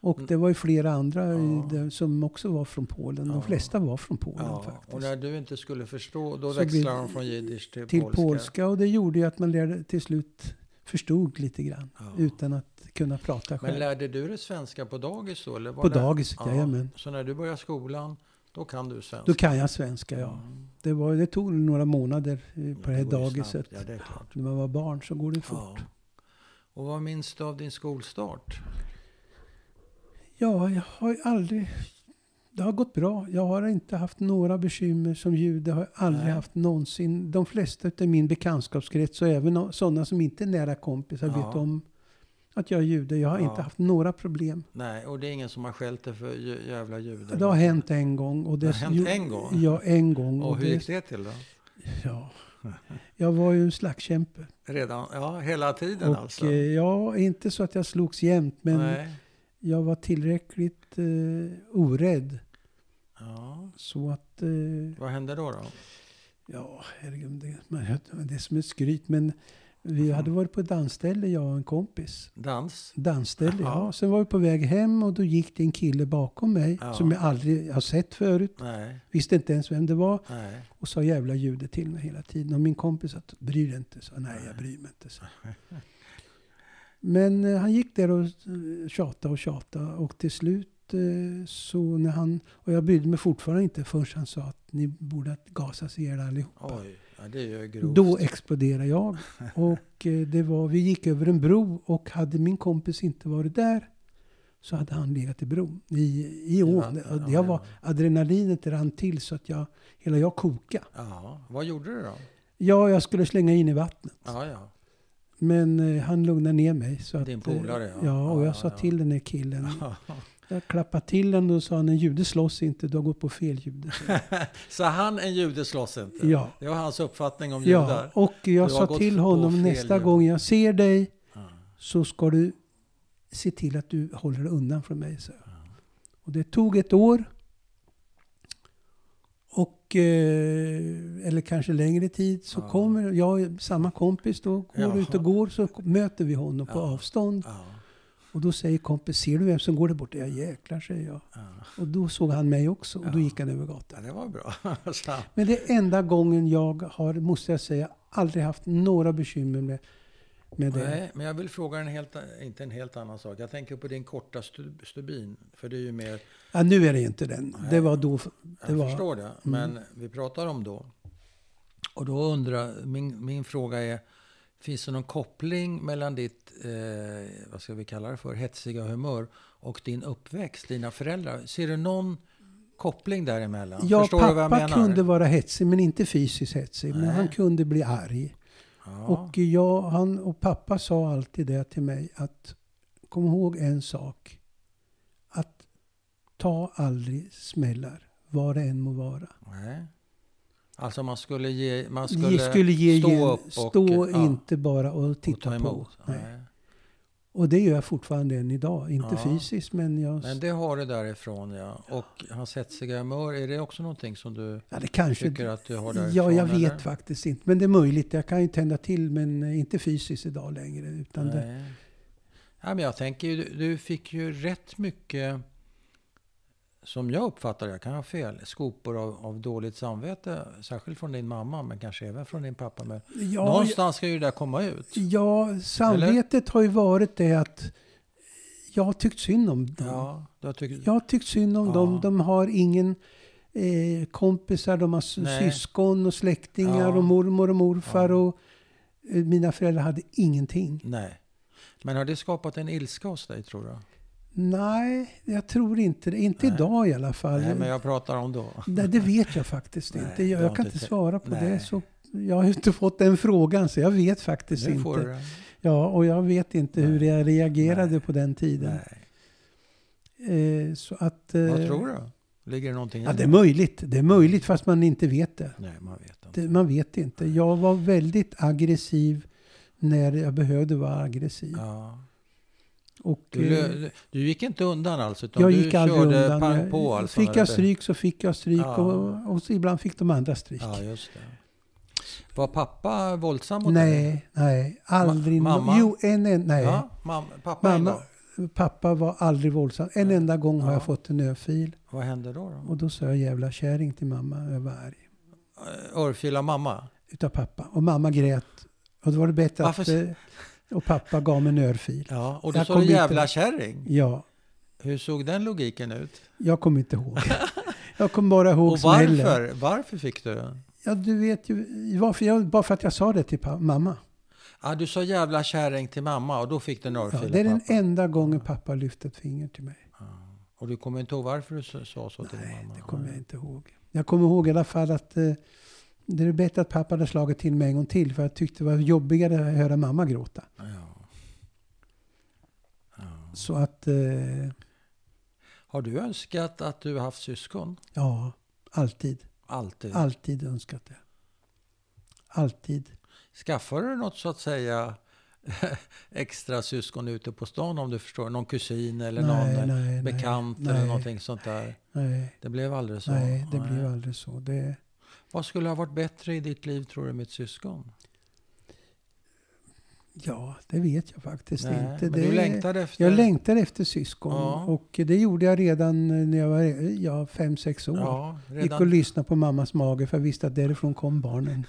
Speaker 2: Och det var ju flera andra i
Speaker 1: Ja.
Speaker 2: det, som också var från Polen.
Speaker 1: Ja.
Speaker 2: De flesta var från Polen
Speaker 1: Ja.
Speaker 2: faktiskt.
Speaker 1: Och när du inte skulle förstå, då
Speaker 2: Så
Speaker 1: växlar
Speaker 2: blir-
Speaker 1: de från jiddisch till,
Speaker 2: till polska. Och det gjorde ju att man lärde, till slut förstod lite grann.
Speaker 1: Ja.
Speaker 2: Utan att kunna prata själv.
Speaker 1: Men lärde du dig svenska på dagis då? Eller var
Speaker 2: På
Speaker 1: det-
Speaker 2: dagis, jajamän.
Speaker 1: Så när du börjar skolan, då kan du svenska?
Speaker 2: Då kan jag svenska, ja. Det, var, det tog några månader eh, på det här
Speaker 1: går ju
Speaker 2: dagiset.
Speaker 1: snabbt. Ja, det är klart.
Speaker 2: När man var barn så går det fort.
Speaker 1: Ja. Och vad minns du av din skolstart?
Speaker 2: Ja, jag har ju aldrig... Det har gått bra. Jag har inte haft några bekymmer som jude. har jag aldrig
Speaker 1: Nej.
Speaker 2: haft någonsin. De flesta av min bekantskapskrets och även o- sådana som inte är nära kompisar
Speaker 1: Ja.
Speaker 2: vet om att jag är jude. Jag har
Speaker 1: Ja.
Speaker 2: inte haft några problem.
Speaker 1: Nej, och det är ingen som har skällt dig för jä- jävla judar?
Speaker 2: Det har hänt en gång. Och
Speaker 1: Det har
Speaker 2: dess-
Speaker 1: hänt
Speaker 2: jo-
Speaker 1: en gång?
Speaker 2: Ja, en gång.
Speaker 1: Och hur
Speaker 2: det-
Speaker 1: gick det till då?
Speaker 2: Ja. Jag var ju en slagskämpe.
Speaker 1: Redan, ja, hela tiden
Speaker 2: Och
Speaker 1: alltså?
Speaker 2: eh, ja, inte så att jag slogs jämt, men
Speaker 1: Nej.
Speaker 2: jag var tillräckligt eh, orädd.
Speaker 1: Ja.
Speaker 2: Så att, eh,
Speaker 1: Vad hände då? då?
Speaker 2: ja herregud, det, man, det är som ett skryt. Men
Speaker 1: Mm.
Speaker 2: vi hade varit på ett dansställe, jag och en kompis.
Speaker 1: Dans?
Speaker 2: Dansställe,
Speaker 1: Jaha.
Speaker 2: ja. Sen var vi på väg hem och då gick det en kille bakom mig
Speaker 1: Ja.
Speaker 2: som jag aldrig har sett förut.
Speaker 1: Nej.
Speaker 2: Visste inte ens vem det var
Speaker 1: Nej.
Speaker 2: och sa jävla ljudet till mig hela tiden. Och min kompis sa, bryr dig inte. Så, Nej, jag bryr mig inte. Så. Men eh, han gick där och eh, tjatade och tjatade. Och till slut eh, så när han... Och jag brydde mig fortfarande inte förrän han sa att ni borde att gasas ihjäl allihopa.
Speaker 1: Oj, ja, det är ju grovt.
Speaker 2: Då exploderade jag. Och eh, det var, vi gick över en bro och hade min kompis inte varit där så hade han legat i bron, i, i ån.
Speaker 1: vattnet,
Speaker 2: Och
Speaker 1: ja,
Speaker 2: Jag
Speaker 1: i
Speaker 2: var,
Speaker 1: ån.
Speaker 2: adrenalinet rann till så att jag, hela jag kokade.
Speaker 1: Ja, vad gjorde du då?
Speaker 2: Ja, jag skulle slänga in i vattnet.
Speaker 1: Ja, ja.
Speaker 2: Men eh, han lugnade ner mig. Så att,
Speaker 1: Din polare, ja.
Speaker 2: ja. Ja, och
Speaker 1: Ja,
Speaker 2: jag
Speaker 1: ja,
Speaker 2: sa
Speaker 1: ja.
Speaker 2: till den här killen.
Speaker 1: Ja.
Speaker 2: Jag klappade till honom och sa, en jude slåss inte, du har gått på fel jude.
Speaker 1: Så han, en jude, slåss inte?
Speaker 2: Ja.
Speaker 1: Det var hans uppfattning om
Speaker 2: ja,
Speaker 1: judar?
Speaker 2: och
Speaker 1: har
Speaker 2: jag sa
Speaker 1: gått
Speaker 2: till
Speaker 1: på fel
Speaker 2: honom, nästa
Speaker 1: jude."
Speaker 2: gång jag ser dig
Speaker 1: Ja.
Speaker 2: så ska du se till att du håller dig undan från mig, sa jag. Och det tog ett år. Och, eh, eller kanske längre tid, så
Speaker 1: Ja.
Speaker 2: kommer jag, samma kompis då, går
Speaker 1: Jaha.
Speaker 2: ut och går så möter vi honom på
Speaker 1: Ja.
Speaker 2: avstånd.
Speaker 1: Ja.
Speaker 2: Och då säger kompis, ser du vem som går där borta? Ja jäklar, säger jag.
Speaker 1: Ja.
Speaker 2: Och då såg han mig också och då
Speaker 1: Ja.
Speaker 2: gick han över gatan.
Speaker 1: ja, det var bra. Så,
Speaker 2: Men det är enda gången jag har, måste jag säga, aldrig haft några bekymmer med, med det.
Speaker 1: nej, men jag vill fråga en helt, inte en helt annan sak. Jag tänker på din korta stub, stubin. För det är ju mer,
Speaker 2: Ja, nu är det ju inte den. Det var då...
Speaker 1: jag
Speaker 2: Det var, Mm.
Speaker 1: förstår det, men vi pratar om då. Och då undrar, min, min fråga är, finns det någon koppling mellan ditt, eh, vad ska vi kalla det för, hetsiga humör och din uppväxt, dina föräldrar? Ser du någon koppling däremellan?
Speaker 2: ja,
Speaker 1: förstår du vad jag
Speaker 2: pappa
Speaker 1: menar?
Speaker 2: kunde vara hetsig, men inte fysiskt hetsig. Men
Speaker 1: Nej.
Speaker 2: han kunde bli arg.
Speaker 1: Ja,
Speaker 2: Och, jag, han, och pappa sa alltid det till mig att kom ihåg en sak. Att ta aldrig smällar, vad det än må vara.
Speaker 1: nej. Alltså man skulle ge, man
Speaker 2: Skulle,
Speaker 1: skulle,
Speaker 2: skulle ge
Speaker 1: stå
Speaker 2: stå
Speaker 1: upp och...
Speaker 2: stå
Speaker 1: ja,
Speaker 2: inte bara och
Speaker 1: och
Speaker 2: titta
Speaker 1: ta emot.
Speaker 2: på. Nej.
Speaker 1: Nej.
Speaker 2: Och det gör jag fortfarande än idag. Inte
Speaker 1: Ja.
Speaker 2: fysiskt men jag...
Speaker 1: Men det har du därifrån ja. Och hans hetsiga humör, är det också någonting som du
Speaker 2: ja, det kanske...
Speaker 1: tycker att du har därifrån?
Speaker 2: Ja, jag
Speaker 1: eller?
Speaker 2: vet faktiskt inte. Men det är möjligt. Jag kan ju tända till men eh, inte fysiskt idag längre. Utan det,
Speaker 1: Nej. Ja, men jag tänker ju, du- du fick ju rätt mycket, som jag uppfattar jag kan ha fel, skopor av, av dåligt samvete. Särskilt från din mamma, men kanske även från din pappa. Men
Speaker 2: ja,
Speaker 1: någonstans ska ju det där komma ut.
Speaker 2: ja, samvetet har ju varit det att jag har tyckt synd om dem.
Speaker 1: Ja, jag tycker,
Speaker 2: Jag har tyckt synd om
Speaker 1: Ja.
Speaker 2: dem. De har ingen eh, kompisar, de har sy-
Speaker 1: Nej.
Speaker 2: syskon och släktingar
Speaker 1: Ja.
Speaker 2: och mormor och morfar.
Speaker 1: Ja.
Speaker 2: Och, eh, mina föräldrar hade ingenting.
Speaker 1: Nej. Men har det skapat en ilska hos dig tror du?
Speaker 2: Nej, jag tror inte det. Inte
Speaker 1: Nej.
Speaker 2: idag i alla fall.
Speaker 1: Nej, men jag pratar om då.
Speaker 2: Nej, det vet jag faktiskt
Speaker 1: Nej,
Speaker 2: inte.
Speaker 1: det
Speaker 2: Jag,
Speaker 1: har
Speaker 2: jag kan
Speaker 1: inte
Speaker 2: inte
Speaker 1: te-
Speaker 2: svara på
Speaker 1: Nej.
Speaker 2: det. Så Jag har ju inte fått den frågan så jag vet faktiskt
Speaker 1: Nu får
Speaker 2: inte.
Speaker 1: du den.
Speaker 2: Ja, och jag vet inte hur
Speaker 1: Nej.
Speaker 2: jag reagerade
Speaker 1: Nej.
Speaker 2: på den tiden.
Speaker 1: Nej.
Speaker 2: Eh, så att... Eh,
Speaker 1: Vad tror du? Ligger det någonting
Speaker 2: Ja,
Speaker 1: i
Speaker 2: det är möjligt. Det är möjligt fast man inte vet det.
Speaker 1: Nej, man vet inte.
Speaker 2: det. Man vet inte. Jag var väldigt aggressiv när jag behövde vara aggressiv.
Speaker 1: Ja.
Speaker 2: Och,
Speaker 1: Du,
Speaker 2: eh,
Speaker 1: lö- du gick inte undan alltså? Utan
Speaker 2: jag
Speaker 1: du
Speaker 2: gick aldrig
Speaker 1: körde
Speaker 2: undan.
Speaker 1: Pang
Speaker 2: Jag-
Speaker 1: på alltså? när
Speaker 2: fick
Speaker 1: det
Speaker 2: jag
Speaker 1: blev-
Speaker 2: stryk så fick jag stryk
Speaker 1: Ja.
Speaker 2: och, och så ibland fick de andra stryk.
Speaker 1: Ja, just det. Var pappa våldsam mot dig?
Speaker 2: nej, nej, aldrig.
Speaker 1: Ma-
Speaker 2: no-
Speaker 1: mamma?
Speaker 2: Jo, en, en nej.
Speaker 1: Ja, mam- pappa
Speaker 2: Mamma-
Speaker 1: mamma.
Speaker 2: Pappa var aldrig våldsam. En
Speaker 1: Nej.
Speaker 2: enda gång har
Speaker 1: Ja.
Speaker 2: jag fått en öfil.
Speaker 1: Vad hände då? då?
Speaker 2: Och då sa jag jävla kärring till mamma. Jag var arg.
Speaker 1: Örfila mamma?
Speaker 2: Utav pappa. Och mamma grät. Och då var det bättre att...
Speaker 1: Varför-
Speaker 2: eh, Och pappa gav mig en örfil.
Speaker 1: Ja, och då
Speaker 2: Jag
Speaker 1: sa
Speaker 2: kom
Speaker 1: du
Speaker 2: inte-
Speaker 1: jävla kärring.
Speaker 2: Ja,
Speaker 1: Hur såg den logiken ut?
Speaker 2: jag kommer inte ihåg. Jag kommer bara ihåg
Speaker 1: Och
Speaker 2: smällen.
Speaker 1: varför? Varför fick du den?
Speaker 2: Ja, du vet ju. Varför jag, bara för att jag sa det till pa- mamma.
Speaker 1: Ah, du sa jävla kärring till mamma och då fick du en
Speaker 2: Ja,
Speaker 1: örfil av
Speaker 2: det är den
Speaker 1: pappa.
Speaker 2: enda gången pappa lyfte ett finger till mig.
Speaker 1: Och du kommer inte ihåg varför du sa sa så till din
Speaker 2: Nej,
Speaker 1: mamma?
Speaker 2: det kommer jag inte ihåg. Jag kommer ihåg i alla fall att eh, det är bättre att pappa hade slagit till mig en gång till. För jag tyckte det var jobbigare att höra mamma gråta.
Speaker 1: Mm. Ja. Ja.
Speaker 2: Så att, eh,
Speaker 1: Har du önskat att du haft syskon?
Speaker 2: ja, alltid.
Speaker 1: Alltid.
Speaker 2: Alltid önskat det. Alltid.
Speaker 1: Skaffar du något så att säga extra syskon ute på stan om du förstår? Någon kusin eller någon eh,
Speaker 2: nej,
Speaker 1: bekant
Speaker 2: nej,
Speaker 1: eller
Speaker 2: nej,
Speaker 1: någonting sånt där?
Speaker 2: Nej,
Speaker 1: Det blev aldrig så?
Speaker 2: nej, det blev aldrig så. Det,
Speaker 1: Vad skulle ha varit bättre i ditt liv tror du med ett syskon?
Speaker 2: ja, det vet jag faktiskt
Speaker 1: Nej,
Speaker 2: inte.
Speaker 1: men
Speaker 2: det,
Speaker 1: du längtade efter?
Speaker 2: Jag längtar efter syskon.
Speaker 1: Ja.
Speaker 2: Och det gjorde jag redan när jag var ja, fem, sex år.
Speaker 1: Ja,
Speaker 2: Gick och
Speaker 1: redan
Speaker 2: lyssnade på mammas mage för jag visste att därifrån kom barnen.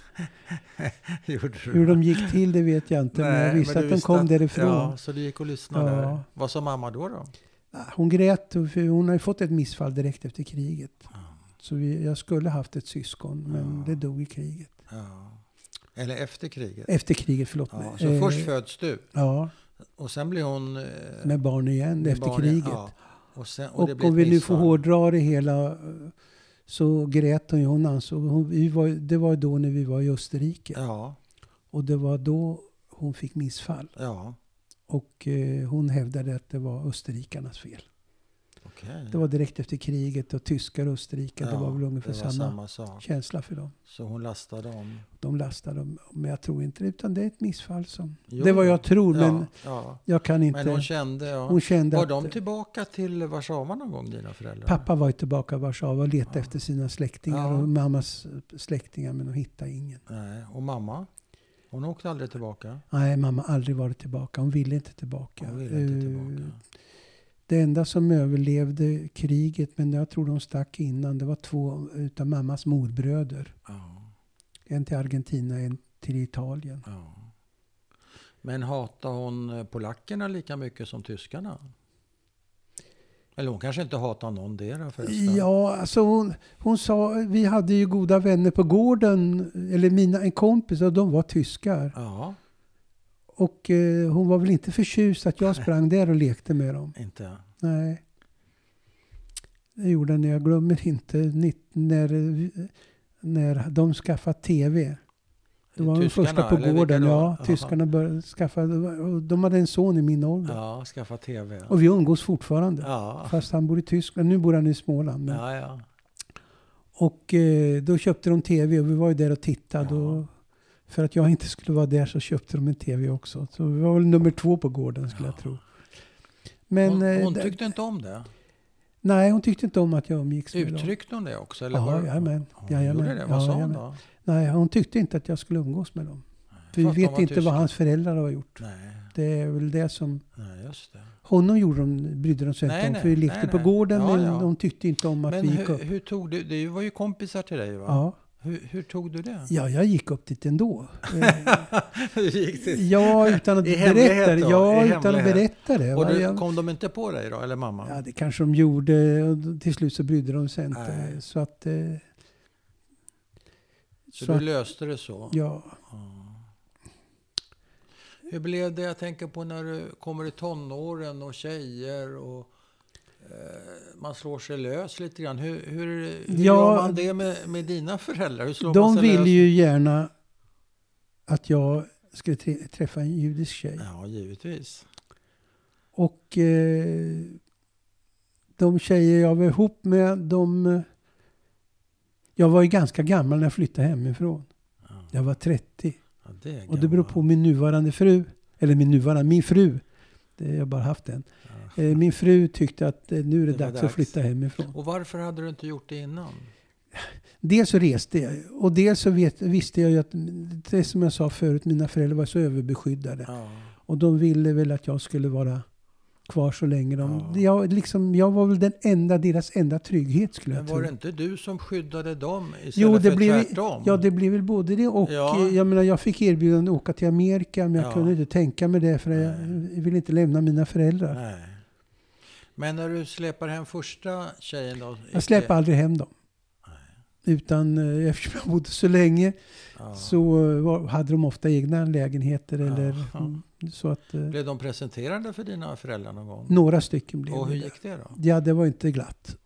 Speaker 1: gjorde du
Speaker 2: Hur
Speaker 1: det.
Speaker 2: de gick till det vet jag inte, men jag
Speaker 1: Nej,
Speaker 2: visste
Speaker 1: men
Speaker 2: att
Speaker 1: du
Speaker 2: de
Speaker 1: visste
Speaker 2: kom
Speaker 1: att-
Speaker 2: därifrån.
Speaker 1: Ja, så du gick och lyssnade
Speaker 2: Ja.
Speaker 1: där. Vad sa mamma då? då?
Speaker 2: Ah, Hon grät, och- för hon har ju fått ett missfall direkt efter kriget. Så vi, jag skulle haft ett syskon, men
Speaker 1: Ja.
Speaker 2: det dog i kriget.
Speaker 1: Ja. Eller efter kriget?
Speaker 2: Efter kriget, förlåt
Speaker 1: Ja,
Speaker 2: mig.
Speaker 1: så
Speaker 2: Eh,
Speaker 1: först föds du
Speaker 2: Ja,
Speaker 1: och sen blir hon... eh,
Speaker 2: med barn igen
Speaker 1: med
Speaker 2: efter
Speaker 1: barn,
Speaker 2: kriget.
Speaker 1: ja. Och, sen, och,
Speaker 2: Och,
Speaker 1: det blir
Speaker 2: om vi
Speaker 1: ett
Speaker 2: nu får
Speaker 1: missfall.
Speaker 2: hårdra det hela eh, så grät hon ju. Hon ansåg, hon, vi var, det var ju då när vi var i Österrike.
Speaker 1: Ja,
Speaker 2: Och det var då hon fick missfall.
Speaker 1: ja.
Speaker 2: Och eh, hon hävdade att det var österrikarnas fel.
Speaker 1: Okej.
Speaker 2: Det var direkt efter kriget och tyskar och österrikare,
Speaker 1: Ja,
Speaker 2: det var väl ungefär
Speaker 1: det var samma
Speaker 2: samma,
Speaker 1: sak.
Speaker 2: känsla för dem.
Speaker 1: Så hon lastade om.
Speaker 2: De lastar dem, men jag tror inte det, utan det är ett missfall som...
Speaker 1: Jo,
Speaker 2: det är vad jag tror, men
Speaker 1: ja, ja.
Speaker 2: jag kan inte...
Speaker 1: Men hon kände... Ja.
Speaker 2: hon kände
Speaker 1: var
Speaker 2: att
Speaker 1: de typ tillbaka till Warszawa någon gång, dina föräldrar?
Speaker 2: pappa var ju tillbaka i Warszawa och letade
Speaker 1: Ja.
Speaker 2: efter sina släktingar
Speaker 1: Ja.
Speaker 2: och mammas eh, släktingar, men de hittade ingen.
Speaker 1: Nej, och mamma? Hon åkte aldrig tillbaka?
Speaker 2: Nej, mamma har aldrig varit tillbaka. Hon ville inte tillbaka.
Speaker 1: Hon ville inte
Speaker 2: Eh,
Speaker 1: tillbaka.
Speaker 2: Det enda som överlevde kriget, men jag tror de stack innan, det var två utav mammas morbröder.
Speaker 1: Ja,
Speaker 2: En till Argentina, en till Italien.
Speaker 1: ja. Men hatade hon eh, polackerna lika mycket som tyskarna? Eller hon kanske inte hatar någon där förresten?
Speaker 2: Ja, alltså hon, hon sa, vi hade ju goda vänner på gården, eller mina, en kompis, och de var tyskar.
Speaker 1: Ja,
Speaker 2: Och eh, hon var väl inte förtjust att jag sprang där och lekte med dem.
Speaker 1: inte?
Speaker 2: Nej. Det gjorde den. Jag glömmer inte nitt- när, eh, när de skaffade tv. Det var de
Speaker 1: Tyskarna,
Speaker 2: första på
Speaker 1: eller vilka
Speaker 2: gården.
Speaker 1: då?
Speaker 2: Ja,
Speaker 1: Jaha.
Speaker 2: tyskarna började skaffa. och De hade en son i min ålder.
Speaker 1: Ja, skaffa tv.
Speaker 2: Och vi umgås fortfarande.
Speaker 1: Ja,
Speaker 2: Fast han bor i Tyskland. Nu bor han i Småland. Men.
Speaker 1: ja, ja.
Speaker 2: Och eh, då köpte de tv och vi var ju där och tittade.
Speaker 1: Ja.
Speaker 2: Och för att jag inte skulle vara där så köpte de en tv också. Så vi var väl nummer två på gården skulle jag tro. Men,
Speaker 1: hon,
Speaker 2: eh,
Speaker 1: hon
Speaker 2: det-
Speaker 1: tyckte inte om det?
Speaker 2: Nej, hon tyckte inte om att jag umgicks med dem.
Speaker 1: Uttryckte hon det också? Eller
Speaker 2: Ja,
Speaker 1: var-
Speaker 2: jajamän.
Speaker 1: Hon
Speaker 2: Jajamän.
Speaker 1: gjorde det? Vad sa hon
Speaker 2: Jajamän.
Speaker 1: då?
Speaker 2: Nej, hon tyckte inte att jag skulle umgås med dem. För vi
Speaker 1: För att de
Speaker 2: vet
Speaker 1: var
Speaker 2: inte
Speaker 1: tyska.
Speaker 2: vad hans föräldrar har gjort.
Speaker 1: Nej,
Speaker 2: Det är väl det som...
Speaker 1: nej just det.
Speaker 2: Honom gjorde de, brydde de sig
Speaker 1: Nej,
Speaker 2: inte om.
Speaker 1: nej,
Speaker 2: För vi lekte
Speaker 1: nej,
Speaker 2: på
Speaker 1: nej.
Speaker 2: gården
Speaker 1: Ja,
Speaker 2: men
Speaker 1: ja.
Speaker 2: de tyckte inte om att
Speaker 1: Men
Speaker 2: vi gick
Speaker 1: hur,
Speaker 2: upp.
Speaker 1: hur tog du, det var ju kompisar till dig va?
Speaker 2: Ja.
Speaker 1: Hur, hur tog du det?
Speaker 2: ja, jag gick upp dit ändå. Eh,
Speaker 1: Hur gick det?
Speaker 2: ja, utan att
Speaker 1: I hemlighet
Speaker 2: berätta det.
Speaker 1: då?
Speaker 2: Ja,
Speaker 1: I
Speaker 2: utan att
Speaker 1: hemlighet.
Speaker 2: berätta det.
Speaker 1: Och
Speaker 2: va?
Speaker 1: du,
Speaker 2: Jag-
Speaker 1: kom de inte på dig då, eller mamma?
Speaker 2: Ja, det kanske de gjorde. Och till slut så brydde de sig inte.
Speaker 1: Nej.
Speaker 2: Så att... eh,
Speaker 1: så, du
Speaker 2: så att-
Speaker 1: löste det så?
Speaker 2: Ja,
Speaker 1: Hur blev det, jag tänker på när du kommer i tonåren och tjejer och eh, man slår sig lös lite grann. Hur, hur, hur
Speaker 2: Ja,
Speaker 1: gör man det med, med dina föräldrar? Hur slår man
Speaker 2: de
Speaker 1: sig
Speaker 2: ville
Speaker 1: lös?
Speaker 2: ju gärna att jag skulle tre- träffa en judisk tjej.
Speaker 1: Ja, givetvis.
Speaker 2: Och eh, de tjejer jag var ihop med, de... eh, Jag var ju ganska gammal när jag flyttade hemifrån.
Speaker 1: Ja.
Speaker 2: Jag var 30.
Speaker 1: Ja, det är
Speaker 2: Och det beror
Speaker 1: gammal.
Speaker 2: på min nuvarande fru. Eller min nuvarande, min fru. Det, jag har bara haft en.
Speaker 1: Ja.
Speaker 2: Eh, min fru tyckte att eh, nu är
Speaker 1: Det
Speaker 2: det,
Speaker 1: var
Speaker 2: dags, att
Speaker 1: dags.
Speaker 2: flytta hemifrån.
Speaker 1: Och varför hade du inte gjort det innan?
Speaker 2: Dels så reste jag ju. och dels så vet, visste jag ju att, det är som jag sa förut, mina föräldrar var så överbeskyddade.
Speaker 1: Ja.
Speaker 2: Och de ville väl att jag skulle vara kvar så länge. De,
Speaker 1: Ja.
Speaker 2: jag, liksom, jag var väl den enda, deras enda trygghet skulle
Speaker 1: Men
Speaker 2: jag
Speaker 1: var
Speaker 2: tro.
Speaker 1: det inte du som skyddade dem istället
Speaker 2: Jo, det
Speaker 1: för
Speaker 2: blev-
Speaker 1: tvärtom?
Speaker 2: Ja, det blev väl både det och.
Speaker 1: Ja.
Speaker 2: eh, Jag menar, jag fick erbjudande att åka till Amerika, men jag
Speaker 1: Ja.
Speaker 2: kunde inte tänka mig det för jag
Speaker 1: Nej.
Speaker 2: ville inte lämna mina föräldrar.
Speaker 1: Nej. Men när du släpper hem första tjejen då?
Speaker 2: Jag släppte aldrig hem dem. Utan eh, eftersom jag bodde så länge
Speaker 1: Ja.
Speaker 2: så eh, var, hade de ofta egna lägenheter. Eller,
Speaker 1: Ja.
Speaker 2: mm, så att, eh,
Speaker 1: Blev de presenterade för dina föräldrar någon gång?
Speaker 2: några stycken blev
Speaker 1: Och hur
Speaker 2: det.
Speaker 1: gick det då?
Speaker 2: Ja, det var inte glatt.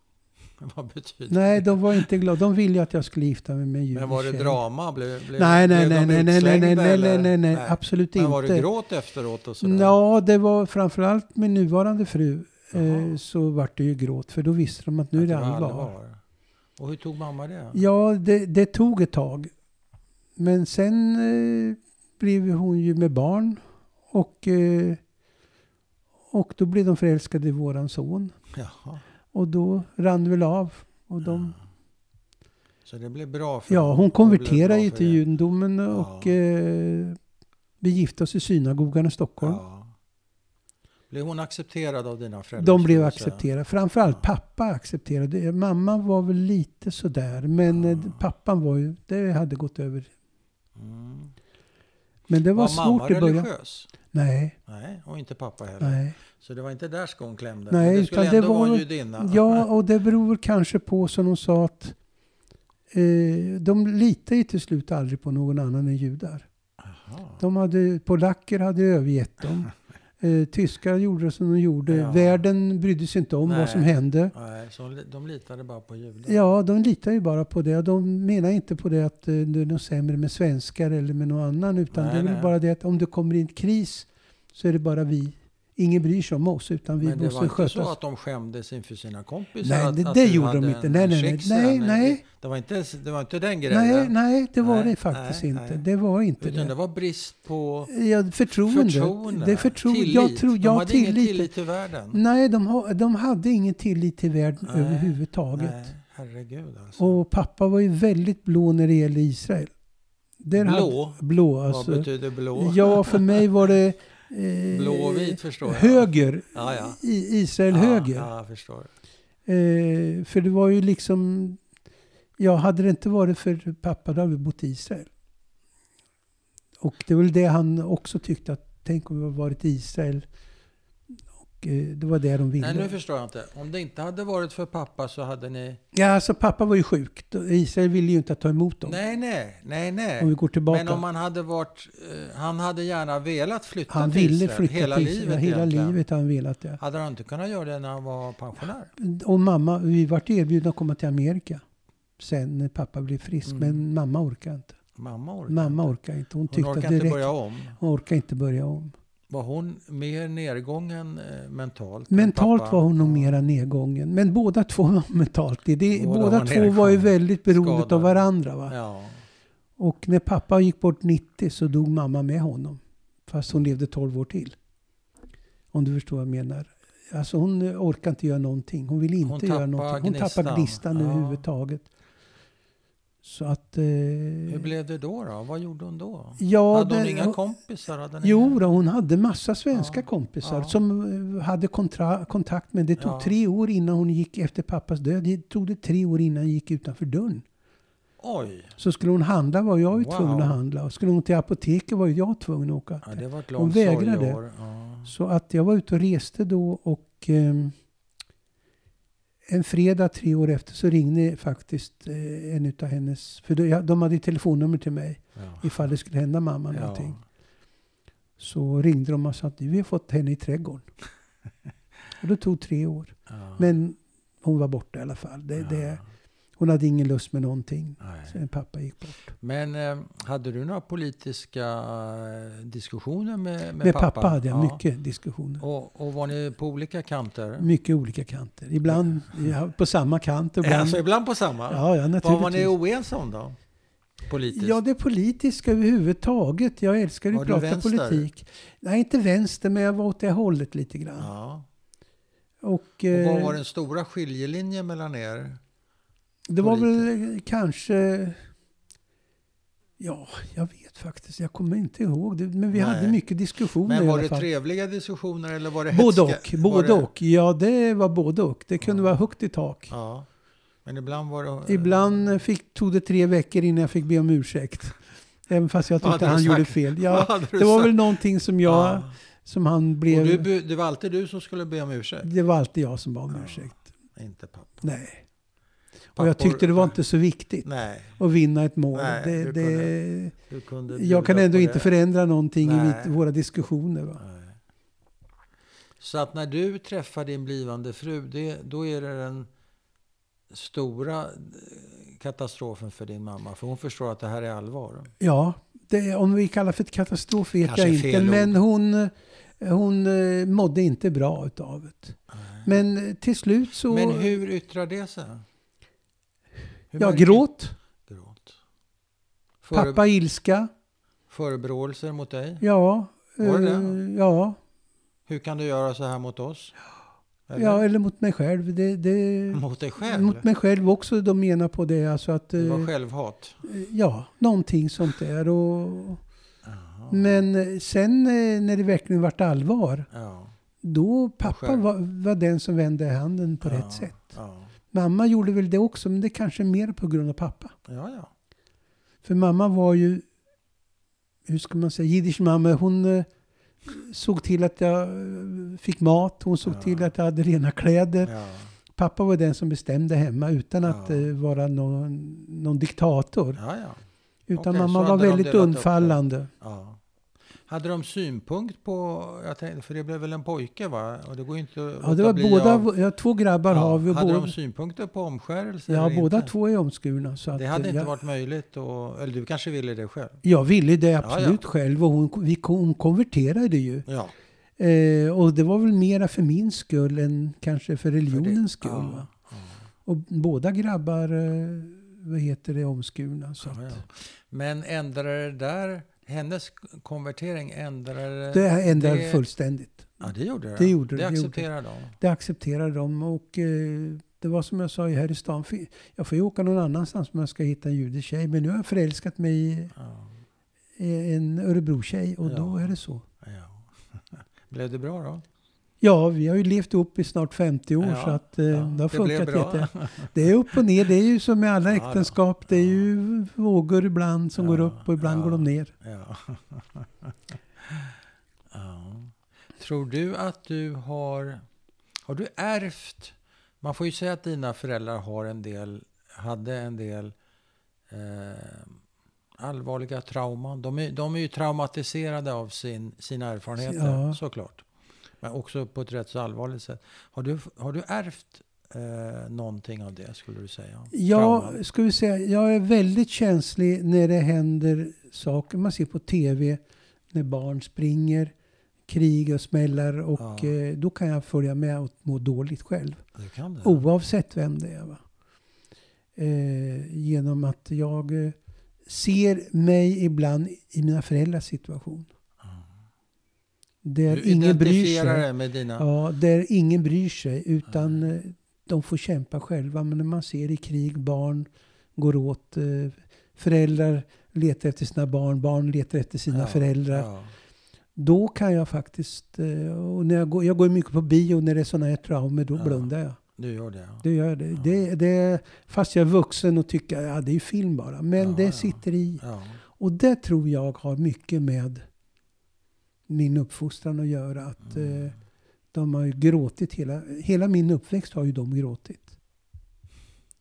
Speaker 1: Vad betyder
Speaker 2: Nej,
Speaker 1: det?
Speaker 2: de var inte glada. De ville ju att jag skulle gifta mig med en judisk
Speaker 1: Men var det
Speaker 2: tjej.
Speaker 1: drama? Blev, blev,
Speaker 2: Nej, nej, nej,
Speaker 1: blev
Speaker 2: nej,
Speaker 1: de
Speaker 2: nej, nej, nej,
Speaker 1: utslängda,
Speaker 2: nej, nej,
Speaker 1: eller?
Speaker 2: nej, nej, absolut
Speaker 1: Men
Speaker 2: inte.
Speaker 1: var det gråt efteråt och sådär?
Speaker 2: Ja, det var framförallt min nuvarande fru eh,
Speaker 1: Jaha.
Speaker 2: så vart det ju gråt för då visste de att nu är
Speaker 1: Att
Speaker 2: det
Speaker 1: var
Speaker 2: allvar.
Speaker 1: Och hur tog mamma det?
Speaker 2: Ja, det, det tog ett tag. Men sen eh, blev hon ju med barn och, eh, och då blev de förälskade i våran son.
Speaker 1: Jaha.
Speaker 2: Och då rann det väl av. Och de,
Speaker 1: Så det blev bra för
Speaker 2: ja, hon
Speaker 1: Det blev
Speaker 2: konverterade
Speaker 1: bra
Speaker 2: ju
Speaker 1: för
Speaker 2: till
Speaker 1: er.
Speaker 2: judendomen och
Speaker 1: Ja.
Speaker 2: eh, vi gifte oss i synagogan i Stockholm.
Speaker 1: Ja. Blev hon accepterad av dina föräldrar?
Speaker 2: De blev
Speaker 1: skulle du säga?
Speaker 2: accepterade. Framförallt
Speaker 1: Ja.
Speaker 2: pappa accepterade. Eh, Mamma var väl lite sådär. Men
Speaker 1: Ja.
Speaker 2: eh, pappan var ju, det hade gått över.
Speaker 1: Mm.
Speaker 2: Men det var,
Speaker 1: Var mamma
Speaker 2: svårt i början.
Speaker 1: religiös?
Speaker 2: Nej,
Speaker 1: Nej, och inte pappa heller.
Speaker 2: nej.
Speaker 1: Så det var inte där skon klämde?
Speaker 2: Nej,
Speaker 1: men det
Speaker 2: utan
Speaker 1: skulle
Speaker 2: det
Speaker 1: ändå
Speaker 2: var-
Speaker 1: vara en judinna?
Speaker 2: Ja, och det beror kanske på som de sa att eh, de litar ju till slut aldrig på någon annan än judar.
Speaker 1: Jaha.
Speaker 2: De hade, polacker hade övergett dem. Eh, tyskar gjorde som de gjorde.
Speaker 1: Ja.
Speaker 2: Världen brydde sig inte om
Speaker 1: Nej.
Speaker 2: vad som hände.
Speaker 1: Nej, så de litade bara på judar?
Speaker 2: Ja, de litar ju bara på det. De menar inte på det att eh, det är något sämre med svenskar eller med någon annan. Utan
Speaker 1: Nej,
Speaker 2: det är väl
Speaker 1: nej.
Speaker 2: bara det att om det kommer in kris så är det bara vi. Ingen bryr sig om oss utan vi
Speaker 1: Men det var
Speaker 2: måste
Speaker 1: inte
Speaker 2: sköta
Speaker 1: så
Speaker 2: oss.
Speaker 1: att de skämdes inför sina kompisar?
Speaker 2: Nej,
Speaker 1: att,
Speaker 2: det,
Speaker 1: att
Speaker 2: det
Speaker 1: du
Speaker 2: gjorde de
Speaker 1: hade
Speaker 2: inte.
Speaker 1: en
Speaker 2: Nej, nej, nej.
Speaker 1: schicksal?
Speaker 2: nej, nej.
Speaker 1: Det var inte, det var inte den grejen?
Speaker 2: Nej, nej, det var
Speaker 1: Nej,
Speaker 2: det faktiskt
Speaker 1: nej,
Speaker 2: inte.
Speaker 1: nej.
Speaker 2: Det var inte
Speaker 1: Utan det
Speaker 2: det.
Speaker 1: var brist på
Speaker 2: Ja, förtroende.
Speaker 1: förtroende?
Speaker 2: Det är förtroende.
Speaker 1: Tillit?
Speaker 2: Jag tror,
Speaker 1: de
Speaker 2: ja,
Speaker 1: hade
Speaker 2: tillit.
Speaker 1: ingen tillit till världen?
Speaker 2: Nej, de, ha- de hade ingen tillit till världen
Speaker 1: Nej,
Speaker 2: överhuvudtaget.
Speaker 1: Nej, herregud alltså.
Speaker 2: Och pappa var ju väldigt blå när det gällde Israel. Där Hade,
Speaker 1: blå?
Speaker 2: blå, alltså.
Speaker 1: Vad betyder blå?
Speaker 2: Ja, för mig var det... Eh,
Speaker 1: blå och vit förstår jag.
Speaker 2: Höger.
Speaker 1: Ja, ja.
Speaker 2: I, Israel
Speaker 1: ja,
Speaker 2: höger.
Speaker 1: Ja, jag förstår.
Speaker 2: Eh, för det var ju liksom... Ja, hade det inte varit för pappa då hade vi bott i Israel. Och det var väl det han också tyckte att tänk om vi hade varit i Israel. Och eh, det var det de ville.
Speaker 1: Nej, nu förstår jag inte. Om det inte hade varit för pappa så hade ni...
Speaker 2: Ja, alltså pappa var ju sjuk. Israel ville ju inte ta emot dem.
Speaker 1: Nej, nej, nej,
Speaker 2: Om vi
Speaker 1: nej.
Speaker 2: går tillbaka.
Speaker 1: Men om man hade varit... eh, han hade gärna velat flytta
Speaker 2: han
Speaker 1: till
Speaker 2: ville
Speaker 1: Israel
Speaker 2: flytta
Speaker 1: hela
Speaker 2: till
Speaker 1: livet
Speaker 2: Israel. Hela
Speaker 1: egentligen.
Speaker 2: livet har han velat det.
Speaker 1: Hade han inte kunnat göra det när han var pensionär?
Speaker 2: Och mamma, vi vart erbjudna att komma till Amerika. Sen när pappa blev frisk.
Speaker 1: Mm.
Speaker 2: Men mamma orkade inte.
Speaker 1: Mamma orkade
Speaker 2: Mamma
Speaker 1: inte.
Speaker 2: orkade inte. Hon
Speaker 1: Hon
Speaker 2: tyckte
Speaker 1: orkade
Speaker 2: att det
Speaker 1: inte
Speaker 2: räckte.
Speaker 1: börja om.
Speaker 2: Hon orkade inte börja om.
Speaker 1: Var hon mer nedgången eh, mentalt? än
Speaker 2: Mentalt
Speaker 1: pappa?
Speaker 2: var hon nog
Speaker 1: Ja.
Speaker 2: mera nedgången. Men båda två var mentalt det, det,
Speaker 1: Båda
Speaker 2: Båda,
Speaker 1: var
Speaker 2: två var ju
Speaker 1: nedgångna.
Speaker 2: väldigt beroende av
Speaker 1: Skadade.
Speaker 2: varandra. Va?
Speaker 1: Ja.
Speaker 2: Och när pappa gick bort 90 så dog mamma med honom. Fast hon levde 12 år till. Om du förstår vad jag menar. Alltså hon eh, orkade inte göra någonting. Hon ville
Speaker 1: Hon
Speaker 2: inte göra
Speaker 1: tappade
Speaker 2: någonting. Hon
Speaker 1: gnistan.
Speaker 2: tappade gnistan
Speaker 1: Ja.
Speaker 2: överhuvudtaget. Så att... Eh,
Speaker 1: Hur blev det då? då? Vad gjorde hon då?
Speaker 2: ja,
Speaker 1: hade hon
Speaker 2: det-
Speaker 1: inga kompisar? Hade ni
Speaker 2: Jo, då, hon hade massa svenska
Speaker 1: Ja,
Speaker 2: kompisar
Speaker 1: ja.
Speaker 2: som eh, hade kontra, kontakt men det tog
Speaker 1: Ja.
Speaker 2: tre år innan hon gick efter pappas död. Det tog det tre år innan hon gick utanför dörren.
Speaker 1: Oj!
Speaker 2: Så skulle hon handla var jag ju
Speaker 1: Wow.
Speaker 2: tvungen att handla. Och skulle hon till apoteket var ju jag tvungen att åka.
Speaker 1: Ja, det var ett
Speaker 2: Hon
Speaker 1: långt
Speaker 2: vägrade.
Speaker 1: sorgeår. Ja.
Speaker 2: Så att jag var ute och reste då och ehm, en fredag tre år efter så ringde faktiskt eh, en utav hennes, för de, ja, de hade ju telefonnummer till mig
Speaker 1: Ja.
Speaker 2: ifall det skulle hända mamma
Speaker 1: Ja.
Speaker 2: någonting. Så ringde de och sa att vi har fått henne i trädgården. och det tog tre år.
Speaker 1: Ja.
Speaker 2: Men hon var borta i alla fall. Det, det, Hon hade ingen lust med någonting.
Speaker 1: Nej.
Speaker 2: Sen pappa gick bort.
Speaker 1: Men eh, hade du några politiska eh, diskussioner med, med,
Speaker 2: Med pappa, hade jag
Speaker 1: Ja.
Speaker 2: mycket diskussioner.
Speaker 1: Och, och var ni på olika kanter?
Speaker 2: Mycket olika kanter. Ibland ja, på samma kant. och Ibland,
Speaker 1: Alltså ibland på samma?
Speaker 2: ja, ja,
Speaker 1: Vad var ni
Speaker 2: naturligtvis.
Speaker 1: oense om då? Politiskt?
Speaker 2: Ja, det politiska överhuvudtaget. Jag älskar ju
Speaker 1: Var
Speaker 2: att
Speaker 1: du
Speaker 2: prata
Speaker 1: vänster?
Speaker 2: politik. Nej, inte vänster, men jag var åt det hållet lite grann.
Speaker 1: Ja.
Speaker 2: Och,
Speaker 1: Och
Speaker 2: eh,
Speaker 1: vad var den stora skiljelinjen mellan er?
Speaker 2: det var
Speaker 1: politi-
Speaker 2: väl kanske... Ja, jag vet faktiskt. Jag kommer inte ihåg. Det, men vi
Speaker 1: Nej.
Speaker 2: hade mycket diskussioner
Speaker 1: Men
Speaker 2: i
Speaker 1: var
Speaker 2: alla
Speaker 1: det
Speaker 2: fall.
Speaker 1: trevliga diskussioner eller var det
Speaker 2: Både och.
Speaker 1: hätska? Var
Speaker 2: Både
Speaker 1: det-
Speaker 2: och. Ja, det var både och. Det kunde
Speaker 1: Ja.
Speaker 2: vara högt i tak.
Speaker 1: Ja. Men ibland var det...
Speaker 2: Ibland fick, tog det tre veckor innan jag fick be om ursäkt. Även fast jag
Speaker 1: Vad
Speaker 2: tyckte
Speaker 1: hade
Speaker 2: han
Speaker 1: du
Speaker 2: gjorde
Speaker 1: sagt?
Speaker 2: fel.
Speaker 1: Vad
Speaker 2: Ja,
Speaker 1: hade du
Speaker 2: det var
Speaker 1: sagt?
Speaker 2: väl någonting som, jag,
Speaker 1: Ja.
Speaker 2: som han
Speaker 1: Och
Speaker 2: blev...
Speaker 1: du, bu- det var alltid du som skulle be om ursäkt?
Speaker 2: Det var alltid jag som bad om
Speaker 1: Ja.
Speaker 2: ursäkt.
Speaker 1: Inte pappa.
Speaker 2: Nej. Mm. Och
Speaker 1: Pappor-
Speaker 2: jag tyckte det var inte så viktigt
Speaker 1: Nej,
Speaker 2: att vinna ett mål.
Speaker 1: Nej,
Speaker 2: det,
Speaker 1: du
Speaker 2: det,
Speaker 1: du kunde
Speaker 2: jag
Speaker 1: bjuda
Speaker 2: kan ändå
Speaker 1: på
Speaker 2: inte
Speaker 1: det.
Speaker 2: förändra någonting i
Speaker 1: Nej.
Speaker 2: mitt, våra diskussioner. Va?
Speaker 1: Nej. Så att när du träffar din blivande fru, det, då är det den stora eh, katastrofen för din mamma. För hon förstår att det här är allvar.
Speaker 2: Ja, det, om vi kallar för ett katastrof vet
Speaker 1: Kanske
Speaker 2: jag
Speaker 1: är
Speaker 2: inte.
Speaker 1: fel ord.
Speaker 2: Men hon, hon eh, mådde inte bra utav det. Men eh, till slut så...
Speaker 1: Men hur yttrar det sig? Hur
Speaker 2: ja,
Speaker 1: märker-
Speaker 2: gråt,
Speaker 1: gråt. Före,
Speaker 2: pappa ilska.
Speaker 1: Förebråelser mot dig?
Speaker 2: Ja,
Speaker 1: Var det
Speaker 2: eh,
Speaker 1: det?
Speaker 2: ja,
Speaker 1: Hur kan du göra så här mot oss? Eller?
Speaker 2: ja, eller mot mig själv. Det, det,
Speaker 1: mot dig själv?
Speaker 2: Mot mig själv också. De menar på det. Alltså att,
Speaker 1: Det var
Speaker 2: eh,
Speaker 1: självhat?
Speaker 2: ja, någonting sånt där. Och,
Speaker 1: Jaha.
Speaker 2: men eh, sen eh, när det verkligen vart allvar,
Speaker 1: Ja.
Speaker 2: då pappa
Speaker 1: skär.
Speaker 2: var, var den som vände handen på rätt sätt.
Speaker 1: Ja,
Speaker 2: Mamma gjorde väl det också, men det kanske är mer på grund av pappa.
Speaker 1: ja. ja.
Speaker 2: För mamma var ju, hur ska man säga, jiddisch mamma, hon eh, såg till att jag eh, fick mat, hon såg
Speaker 1: Ja.
Speaker 2: till att jag hade rena kläder.
Speaker 1: ja.
Speaker 2: Pappa var den som bestämde hemma utan att
Speaker 1: Ja.
Speaker 2: eh, vara någon, någon diktator.
Speaker 1: ja, ja.
Speaker 2: Utan
Speaker 1: Okej,
Speaker 2: mamma
Speaker 1: så
Speaker 2: var
Speaker 1: hade de
Speaker 2: väldigt
Speaker 1: delat upp det.
Speaker 2: undfallande.
Speaker 1: Ja. Hade de synpunkt på, jag tänkte, för det blev väl en pojke va? Och det går ju inte att
Speaker 2: Ja, det
Speaker 1: låta
Speaker 2: var
Speaker 1: bli
Speaker 2: båda,
Speaker 1: av-
Speaker 2: ja, två grabbar har vi. och
Speaker 1: Hade
Speaker 2: båda-
Speaker 1: de synpunkter på omskärelse?
Speaker 2: ja,
Speaker 1: eller
Speaker 2: båda
Speaker 1: inte?
Speaker 2: två är omskurna. Så att,
Speaker 1: Det hade
Speaker 2: eh,
Speaker 1: inte
Speaker 2: jag,
Speaker 1: varit möjligt, och, eller du kanske ville det själv?
Speaker 2: jag ville det
Speaker 1: ja.
Speaker 2: absolut själv och hon, vi, hon konverterade ju.
Speaker 1: Ja.
Speaker 2: Eh, och det var väl mera för min skull än kanske för religionens skull.
Speaker 1: ja,
Speaker 2: Va?
Speaker 1: ja.
Speaker 2: Och båda grabbar, eh, vad heter det, omskurna. Så att,
Speaker 1: Ja, ja. Men ändrade det där, hennes konvertering ändrade
Speaker 2: Det ändrade
Speaker 1: det-
Speaker 2: fullständigt.
Speaker 1: Ja, det gjorde det.
Speaker 2: Det gjorde det,
Speaker 1: det
Speaker 2: det gjorde
Speaker 1: accepterar de.
Speaker 2: Det accepterade de och eh, det var som jag sa här i stan. fi- Jag får ju åka någon annanstans om jag ska hitta en judisk tjej. Men nu har jag förälskat mig i
Speaker 1: Ja,
Speaker 2: i en Örebro-tjej och då
Speaker 1: Ja.
Speaker 2: är det så.
Speaker 1: ja. Blev det bra då?
Speaker 2: Ja, vi har ju levt ihop i snart 50 år
Speaker 1: Ja,
Speaker 2: så att eh,
Speaker 1: ja,
Speaker 2: det har
Speaker 1: det blev
Speaker 2: funkat
Speaker 1: bra.
Speaker 2: jätte. Det är upp och ner, det är ju som med alla
Speaker 1: Ja, då.
Speaker 2: äktenskap. Det är ju vågor ibland som
Speaker 1: Ja,
Speaker 2: går upp och ibland
Speaker 1: ja.
Speaker 2: går de ner.
Speaker 1: Ja. ja. Tror du att du har... Har du ärvt... Man får ju säga att dina föräldrar har en del, hade en del eh, allvarliga trauman. De är, de är ju traumatiserade av sin, sina erfarenheter,
Speaker 2: Ja.
Speaker 1: såklart. Men också på ett rätt så allvarligt sätt. Har du, har du ärvt eh, någonting av det, skulle du säga? Trauman?
Speaker 2: Jag, ska vi säga, jag är väldigt känslig när det händer saker. Man ser på tv när barn springer, krig och smällar och
Speaker 1: Ja.
Speaker 2: eh, då kan jag följa med och må dåligt själv.
Speaker 1: Du kan det?
Speaker 2: Oavsett vem det är. Va? Eh, genom att jag eh, ser mig ibland i mina föräldrars situation. Där
Speaker 1: du
Speaker 2: ingen bryr
Speaker 1: identifierar
Speaker 2: sig.
Speaker 1: dig med dina...
Speaker 2: Ja, där ingen bryr sig utan eh, de får kämpa själva. Men när man ser i krig barn går åt, eh, föräldrar letar efter sina barn, barn letar efter sina
Speaker 1: Ja,
Speaker 2: föräldrar.
Speaker 1: ja.
Speaker 2: Då kan jag faktiskt, eh, och när jag, går, jag går ju mycket på bio när det är sådana här traumer, då
Speaker 1: Ja.
Speaker 2: blundar jag.
Speaker 1: Du gör det? ja.
Speaker 2: Det gör det. det, det fast jag är vuxen och tycker att ja, det är ju film bara. Men
Speaker 1: Ja,
Speaker 2: det
Speaker 1: ja.
Speaker 2: sitter i.
Speaker 1: Ja.
Speaker 2: Och det tror jag har mycket med min uppfostran att göra. Att
Speaker 1: Mm.
Speaker 2: eh, De har ju gråtit hela, hela min uppväxt har ju de gråtit.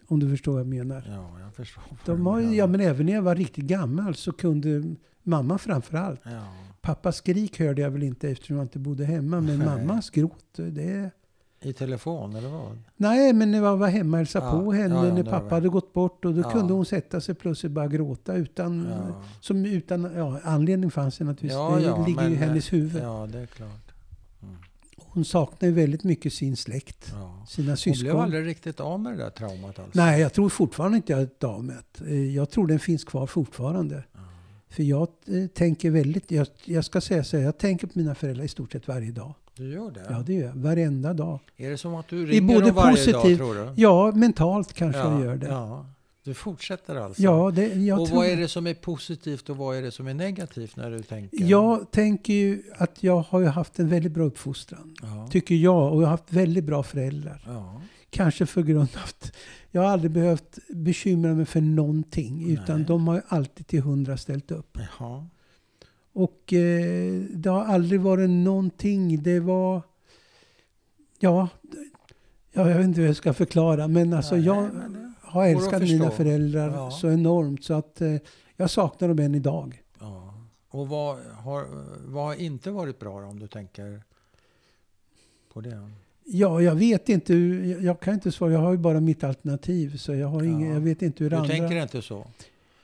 Speaker 2: Om du förstår vad jag menar.
Speaker 1: ja, jag förstår. vad du
Speaker 2: De har, ju-
Speaker 1: menar.
Speaker 2: ja, men även när jag var riktigt gammal så kunde mamma framför allt.
Speaker 1: Ja.
Speaker 2: Pappas skrik hörde jag väl inte eftersom jag inte bodde hemma. Men
Speaker 1: Nej.
Speaker 2: mammas gråt, det,
Speaker 1: I telefon eller vad?
Speaker 2: Nej, men när jag var hemma och hälsade
Speaker 1: Ja,
Speaker 2: på henne
Speaker 1: ja, ja,
Speaker 2: när
Speaker 1: det
Speaker 2: pappa
Speaker 1: var-
Speaker 2: hade gått bort. Och då
Speaker 1: Ja.
Speaker 2: kunde hon sätta sig plötsligt och bara gråta utan...
Speaker 1: Ja,
Speaker 2: Som utan ja, anledning fanns det naturligtvis.
Speaker 1: Ja,
Speaker 2: det
Speaker 1: ja,
Speaker 2: ligger ju i
Speaker 1: men, eh,
Speaker 2: hennes huvud.
Speaker 1: ja det är klart. Mm.
Speaker 2: Hon saknar ju väldigt mycket sin släkt.
Speaker 1: Ja. Hon
Speaker 2: Sina
Speaker 1: blev
Speaker 2: syskon.
Speaker 1: aldrig riktigt av med det där traumat alltså. alls.
Speaker 2: Nej, jag tror fortfarande inte jag är av med det. Eh, Jag tror den finns kvar fortfarande.
Speaker 1: Ja.
Speaker 2: För jag eh, tänker väldigt... Jag, jag ska säga så här, jag tänker på mina föräldrar i stort sett varje dag.
Speaker 1: Du gör det?
Speaker 2: Ja, det gör jag. Varenda dag.
Speaker 1: Är det som att du ringer
Speaker 2: både
Speaker 1: dem varje dag
Speaker 2: positivt-
Speaker 1: tror du?
Speaker 2: Ja, mentalt kanske jag gör det. Ja,
Speaker 1: Ja. Du fortsätter alltså?
Speaker 2: det, jag
Speaker 1: och
Speaker 2: tror
Speaker 1: vad är det som är positivt och vad är det som är negativt när du tänker?
Speaker 2: Jag tänker ju att jag har ju haft en väldigt bra uppfostran.
Speaker 1: ja.
Speaker 2: Tycker jag. Och jag har haft väldigt bra föräldrar.
Speaker 1: ja.
Speaker 2: Kanske för grund av att jag har aldrig behövt bekymra mig för någonting. Utan
Speaker 1: Nej.
Speaker 2: de har ju alltid till hundra ställt upp.
Speaker 1: Jaha.
Speaker 2: Och eh, det har aldrig varit någonting. Det var... Ja, det- ja jag vet inte hur jag ska förklara. Men alltså
Speaker 1: Nej,
Speaker 2: jag
Speaker 1: men det-
Speaker 2: har
Speaker 1: går att
Speaker 2: älskat mina
Speaker 1: förstå.
Speaker 2: föräldrar
Speaker 1: Ja.
Speaker 2: så enormt. Så att eh, jag saknar dem än idag.
Speaker 1: Ja. Och vad har, vad har inte varit bra då, om du tänker på det?
Speaker 2: Ja, jag vet inte. hur- jag- Jag kan inte svara. Jag har ju bara mitt alternativ. Så jag, har
Speaker 1: Ja.
Speaker 2: ingen, jag vet inte hur
Speaker 1: Du
Speaker 2: andra...
Speaker 1: tänker inte så?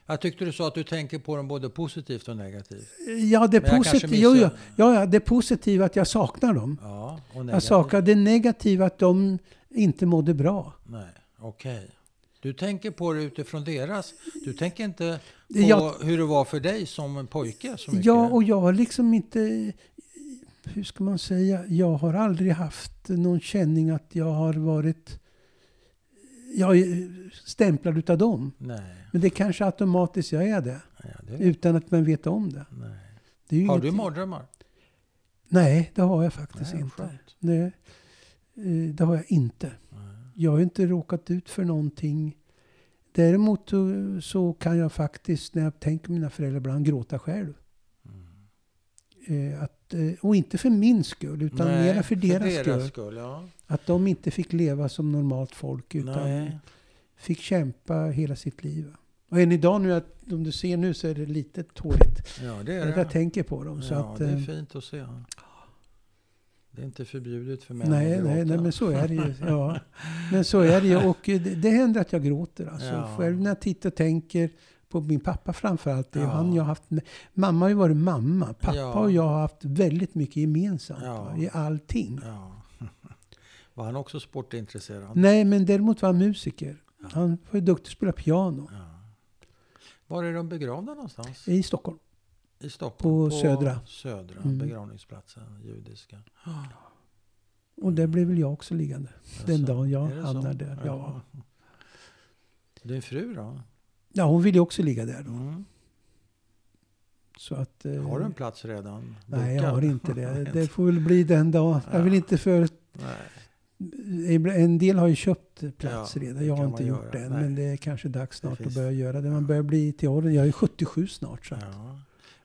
Speaker 1: Jag tyckte du sa att du tänker på dem både positivt och negativt.
Speaker 2: Ja, det
Speaker 1: Men jag kanske
Speaker 2: positiva... Jo, ja,
Speaker 1: missar-
Speaker 2: ja, ja, det positiva är att jag saknar dem.
Speaker 1: Ja, och negativt?
Speaker 2: Jag saknar det negativa att de inte mådde bra.
Speaker 1: Nej, okej. Du tänker på det utifrån deras... Du tänker inte på
Speaker 2: Jag-
Speaker 1: hur det var för dig som en pojke så mycket?
Speaker 2: Ja, och jag har liksom inte... Hur ska man säga? Jag har aldrig haft någon känning att jag har varit... Jag är stämplad utav dem.
Speaker 1: Nej.
Speaker 2: Men det är kanske automatiskt jag är det.
Speaker 1: Ja, det...
Speaker 2: Utan att man vet om det.
Speaker 1: Nej.
Speaker 2: det är ju
Speaker 1: Mm. Har du
Speaker 2: ingenting-
Speaker 1: mardrömmar?
Speaker 2: Nej, det har jag faktiskt
Speaker 1: Nej,
Speaker 2: inte.
Speaker 1: skönt.
Speaker 2: Nej, eh, det har jag inte.
Speaker 1: Nej.
Speaker 2: Jag har inte råkat ut för någonting. Däremot eh, så kan jag faktiskt, när jag tänker på mina föräldrar ibland, gråta själv.
Speaker 1: Mm.
Speaker 2: Eh, Att, eh, och inte för min skull, utan
Speaker 1: Nej,
Speaker 2: mera för deras, skull.
Speaker 1: ja.
Speaker 2: Att de inte fick leva som normalt folk, utan
Speaker 1: Nej.
Speaker 2: fick kämpa hela sitt liv. Och än idag nu, att, om du ser nu, så är det lite tårigt.
Speaker 1: Ja, det är
Speaker 2: Att
Speaker 1: det.
Speaker 2: jag tänker på dem. så
Speaker 1: ja,
Speaker 2: att,
Speaker 1: det är
Speaker 2: eh,
Speaker 1: fint att se. Det är inte förbjudet för män att
Speaker 2: Nej,
Speaker 1: gråta.
Speaker 2: nej, nej, men så är det ju. Ja. Men så är det ju. Och eh, det, det händer att jag gråter. Alltså.
Speaker 1: Ja.
Speaker 2: Själv när jag tittar och tänker på min pappa framförallt. Det är ju
Speaker 1: Ja.
Speaker 2: han jag har haft, mamma har ju varit mamma. Pappa
Speaker 1: Ja.
Speaker 2: och jag har haft väldigt mycket gemensamt
Speaker 1: Ja.
Speaker 2: va, i allting.
Speaker 1: Ja. Var han också sportintresserad?
Speaker 2: Nej, men däremot var han musiker.
Speaker 1: Ja.
Speaker 2: Han var ju duktig att spela piano.
Speaker 1: Ja. Var är de begravda någonstans?
Speaker 2: I Stockholm.
Speaker 1: I Stockholm?
Speaker 2: på Södra.
Speaker 1: Södra
Speaker 2: Mm.
Speaker 1: begravningsplatsen, judiska.
Speaker 2: Och där blev väl jag också liggande. Den
Speaker 1: Alltså,
Speaker 2: dagen jag
Speaker 1: är det så?
Speaker 2: hamnar där. Ja.
Speaker 1: Din fru då?
Speaker 2: ja, hon ville ju också ligga där då.
Speaker 1: Mm.
Speaker 2: Så att, eh,
Speaker 1: Har du en plats redan?
Speaker 2: Nej, jag
Speaker 1: bokad?
Speaker 2: har inte det. Det får väl bli den dagen. Jag vill
Speaker 1: Ja.
Speaker 2: inte för
Speaker 1: Nej.
Speaker 2: Ibla- En del har ju köpt plats
Speaker 1: Ja,
Speaker 2: redan.
Speaker 1: det
Speaker 2: Jag har
Speaker 1: kan
Speaker 2: inte
Speaker 1: man
Speaker 2: gjort
Speaker 1: göra.
Speaker 2: det än.
Speaker 1: Nej.
Speaker 2: Men det är kanske dags
Speaker 1: Det
Speaker 2: snart att
Speaker 1: finns-
Speaker 2: börja göra det. Man
Speaker 1: ja.
Speaker 2: börjar bli till åren. Jag är 77 snart. Så att,
Speaker 1: Ja.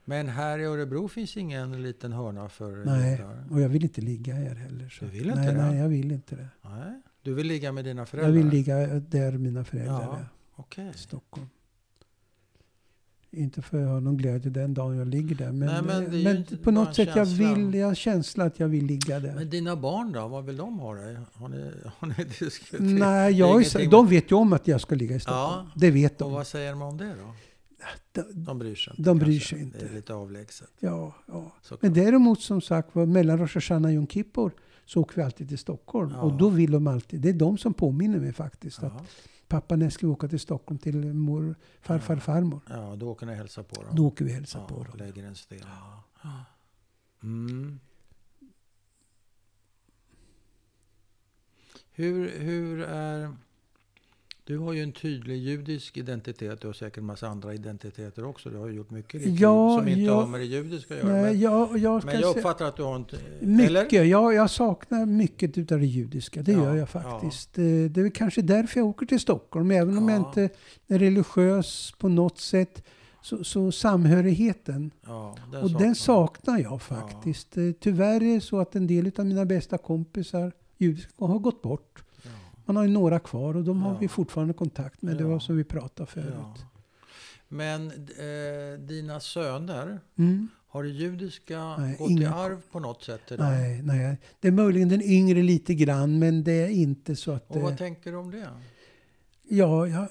Speaker 1: Men här i Örebro finns ingen liten hörna för
Speaker 2: Nej.
Speaker 1: judar?
Speaker 2: Och jag vill inte ligga här heller. Så.
Speaker 1: Du
Speaker 2: att-
Speaker 1: vill inte
Speaker 2: nej,
Speaker 1: det?
Speaker 2: Nej, jag vill inte det.
Speaker 1: Nej. Du vill ligga med dina föräldrar?
Speaker 2: Jag vill ligga där mina föräldrar
Speaker 1: Ja.
Speaker 2: är.
Speaker 1: Okej.
Speaker 2: I Stockholm. Inte för att jag har någon glädje den dagen jag ligger där. Men,
Speaker 1: Nej, men det är ju
Speaker 2: men
Speaker 1: inte
Speaker 2: på
Speaker 1: bara
Speaker 2: något sätt jag
Speaker 1: känslan.
Speaker 2: vill, jag har känsla att jag vill ligga där.
Speaker 1: Men dina barn då? Vad vill de ha dig? Har ni, har ni diskuterat?
Speaker 2: nej,
Speaker 1: det är
Speaker 2: jag, är så-
Speaker 1: ingenting-
Speaker 2: de vet ju om att jag ska ligga i Stockholm.
Speaker 1: Ja.
Speaker 2: Det vet
Speaker 1: Och
Speaker 2: de.
Speaker 1: vad säger de om det då?
Speaker 2: De-
Speaker 1: De bryr sig inte.
Speaker 2: De bryr
Speaker 1: kanske.
Speaker 2: sig inte.
Speaker 1: Det är lite avlägset.
Speaker 2: Ja, ja.
Speaker 1: såklart.
Speaker 2: Men däremot som sagt var, mellan Rosh Hashanah och Yom Kippur så åker vi alltid till Stockholm.
Speaker 1: Ja.
Speaker 2: Och då vill de alltid, det är de som påminner mig faktiskt. Att
Speaker 1: ja.
Speaker 2: pappa när ska vi åka till Stockholm till mor, farfar,
Speaker 1: Ja.
Speaker 2: farmor?
Speaker 1: ja, då åker ni och hälsar på dem.
Speaker 2: Då åker vi och hälsar
Speaker 1: ja,
Speaker 2: på dem.
Speaker 1: Lägger en sten. Ja. Mm. Hur, hur är... Du har ju en tydlig judisk identitet. Du har säkert en massa andra identiteter också. Du har ju gjort mycket i ditt
Speaker 2: Ja,
Speaker 1: liv som inte
Speaker 2: jag-
Speaker 1: har med det judiska att göra.
Speaker 2: Nej,
Speaker 1: men,
Speaker 2: jag, jag ska
Speaker 1: men jag
Speaker 2: säga-
Speaker 1: uppfattar att du har inte...
Speaker 2: mycket,
Speaker 1: Eller?
Speaker 2: jag, jag saknar mycket utav det judiska. Det
Speaker 1: Ja,
Speaker 2: gör jag
Speaker 1: ja.
Speaker 2: faktiskt. Eh, Det är väl kanske därför jag åker till Stockholm. Även om jag
Speaker 1: Ja.
Speaker 2: inte är religiös på något sätt. Så, så samhörigheten.
Speaker 1: Ja,
Speaker 2: Och
Speaker 1: saknar
Speaker 2: den
Speaker 1: jag.
Speaker 2: saknar jag faktiskt. Eh, Tyvärr är det så att en del av mina bästa kompisar judiska har gått bort.
Speaker 1: Ja.
Speaker 2: Man har ju några kvar och de har
Speaker 1: Ja.
Speaker 2: vi fortfarande kontakt med. Det var
Speaker 1: Ja.
Speaker 2: som vi pratade
Speaker 1: Ja.
Speaker 2: förut.
Speaker 1: Men eh, dina söner,
Speaker 2: Mm.
Speaker 1: Har det judiska
Speaker 2: Nej,
Speaker 1: gått i
Speaker 2: inga-
Speaker 1: arv på något sätt? Idag?
Speaker 2: Nej, nej. Det är möjligen den yngre lite grann, men det är inte så att...
Speaker 1: Och
Speaker 2: eh,
Speaker 1: vad tänker du om det?
Speaker 2: ja, jag,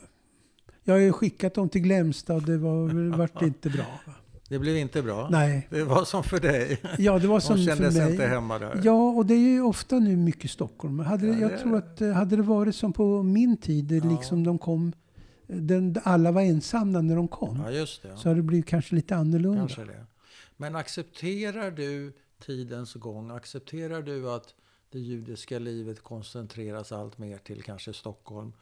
Speaker 2: jag har ju skickat dem till Glämsta och det var, väl- vart inte bra. Va?
Speaker 1: Det blev inte bra.
Speaker 2: Nej.
Speaker 1: Det var som för dig.
Speaker 2: Ja, det var som
Speaker 1: De
Speaker 2: för
Speaker 1: kändes
Speaker 2: mig.
Speaker 1: inte hemma där.
Speaker 2: Ja, och det är ju ofta nu mycket Stockholm. Hade,
Speaker 1: Ja,
Speaker 2: det-
Speaker 1: det
Speaker 2: jag
Speaker 1: är
Speaker 2: tror
Speaker 1: det.
Speaker 2: att eh, hade det varit som på min tid, eh,
Speaker 1: Ja.
Speaker 2: liksom de kom, eh, den, alla var ensamma när de kom,
Speaker 1: Ja, just det.
Speaker 2: så hade det blivit kanske lite annorlunda.
Speaker 1: Kanske det. Men accepterar du tidens gång? Accepterar du att det judiska livet koncentreras allt mer till kanske Stockholm?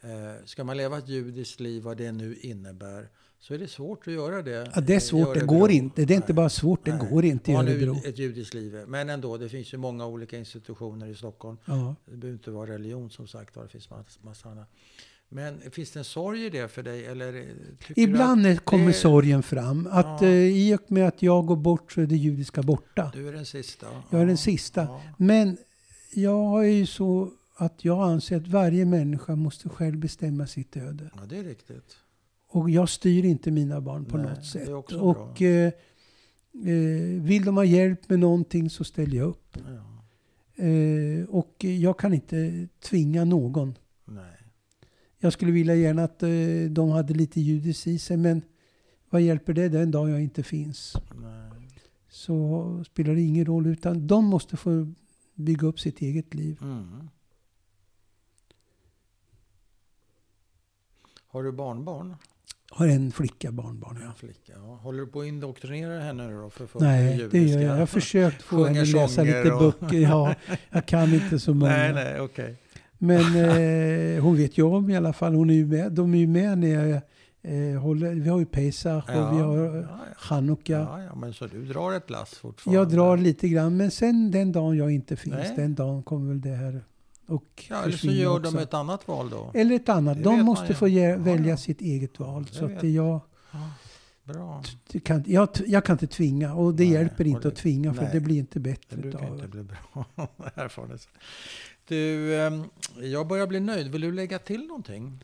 Speaker 1: Eh, ska man leva ett judiskt liv, vad det nu innebär, så är det svårt att göra det. Eh,
Speaker 2: Ja, det är
Speaker 1: i
Speaker 2: svårt, det
Speaker 1: Örebro.
Speaker 2: går inte. Det är inte
Speaker 1: Nej.
Speaker 2: bara svårt, det
Speaker 1: Nej.
Speaker 2: går inte i
Speaker 1: Vad nu
Speaker 2: Örebro.
Speaker 1: ett judiskt liv är. Men ändå, det finns ju många olika institutioner i Stockholm.
Speaker 2: Ja.
Speaker 1: Det behöver inte vara religion som sagt var, det finns massa, massa annat. Men finns det en sorg i det för dig? Eller, eh, tycker du
Speaker 2: Ibland eh, kommer
Speaker 1: det-
Speaker 2: sorgen fram. Att
Speaker 1: Ja.
Speaker 2: eh, i och med att jag går bort så är det judiska borta.
Speaker 1: att Du är den sista.
Speaker 2: Jag är
Speaker 1: Ja,
Speaker 2: den sista.
Speaker 1: ja.
Speaker 2: Men jag är ju så att jag anser att varje människa måste själv bestämma sitt öde.
Speaker 1: Ja, det är riktigt.
Speaker 2: Och jag styr inte mina barn på
Speaker 1: Nej,
Speaker 2: något
Speaker 1: det är
Speaker 2: sätt.
Speaker 1: också
Speaker 2: Och
Speaker 1: bra.
Speaker 2: eh, eh, vill de ha hjälp med någonting så ställer jag upp.
Speaker 1: Ja,
Speaker 2: Eh, och jag kan inte tvinga någon.
Speaker 1: nej.
Speaker 2: Jag skulle vilja gärna att eh, de hade lite judiskt i sig, men vad hjälper det den dag jag inte finns?
Speaker 1: nej.
Speaker 2: Så spelar det ingen roll, utan de måste få bygga upp sitt eget liv.
Speaker 1: Mm. Har du barnbarn?
Speaker 2: Har en flicka, barnbarn, ja.
Speaker 1: Flicka, ja. Håller du på att indoktrinera henne nu då? För fullt med
Speaker 2: Nej, det
Speaker 1: judiska?
Speaker 2: gör jag. Jag har försökt få
Speaker 1: Sjunger
Speaker 2: henne att läsa
Speaker 1: sånger
Speaker 2: lite
Speaker 1: och-
Speaker 2: böcker. Ja, jag kan inte så många.
Speaker 1: Nej, nej, okej.
Speaker 2: Men eh, hon vet ju om i alla fall. Hon är ju med. De är ju med när jag eh, håller. Vi har ju Pesach och vi har eh,
Speaker 1: ja, ja.
Speaker 2: Chanukka.
Speaker 1: Ja, ja, men så du drar ett lass fortfarande?
Speaker 2: Jag drar lite grann, men sen den dagen jag inte finns,
Speaker 1: Nej.
Speaker 2: den dagen kommer väl det här och
Speaker 1: Ja, eller så
Speaker 2: försvinner
Speaker 1: gör
Speaker 2: också. Eh.
Speaker 1: de ett annat val då.
Speaker 2: Eller ett annat.
Speaker 1: Det
Speaker 2: De
Speaker 1: vet
Speaker 2: måste
Speaker 1: man
Speaker 2: få
Speaker 1: ju.
Speaker 2: ge,
Speaker 1: Ja,
Speaker 2: välja
Speaker 1: ja.
Speaker 2: sitt eget val.
Speaker 1: Det
Speaker 2: så att
Speaker 1: vet
Speaker 2: det jag,
Speaker 1: Ja, Bra.
Speaker 2: det kan, jag, jag kan inte tvinga och det
Speaker 1: Nej,
Speaker 2: hjälper
Speaker 1: och
Speaker 2: inte
Speaker 1: det-
Speaker 2: att tvinga för
Speaker 1: nej.
Speaker 2: det blir inte
Speaker 1: Det
Speaker 2: bättre
Speaker 1: brukar inte
Speaker 2: utav
Speaker 1: bli bra erfarenhet. Du, ehm, jag börjar bli nöjd. Vill du lägga till någonting?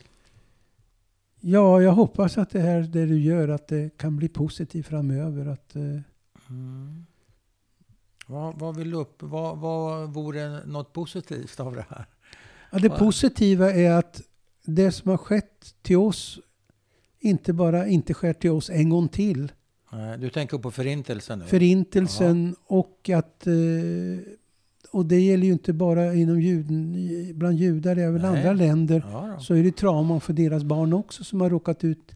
Speaker 2: Ja, jag hoppas att det här det du gör att det kan bli positivt framöver. Att, eh,
Speaker 1: Mm. Vad, vad vill du upp? Vad, vad vore något positivt av det här?
Speaker 2: ja, det
Speaker 1: Wow.
Speaker 2: positiva är att det som har skett till oss inte bara inte sker till oss en gång till.
Speaker 1: Nej, Du tänker på förintelsen nu?
Speaker 2: Förintelsen och att... eh, Och det gäller ju inte bara inom juden, bland judar, även
Speaker 1: Nej.
Speaker 2: andra länder.
Speaker 1: ja, då.
Speaker 2: Så är det trauman för deras barn också som har råkat ut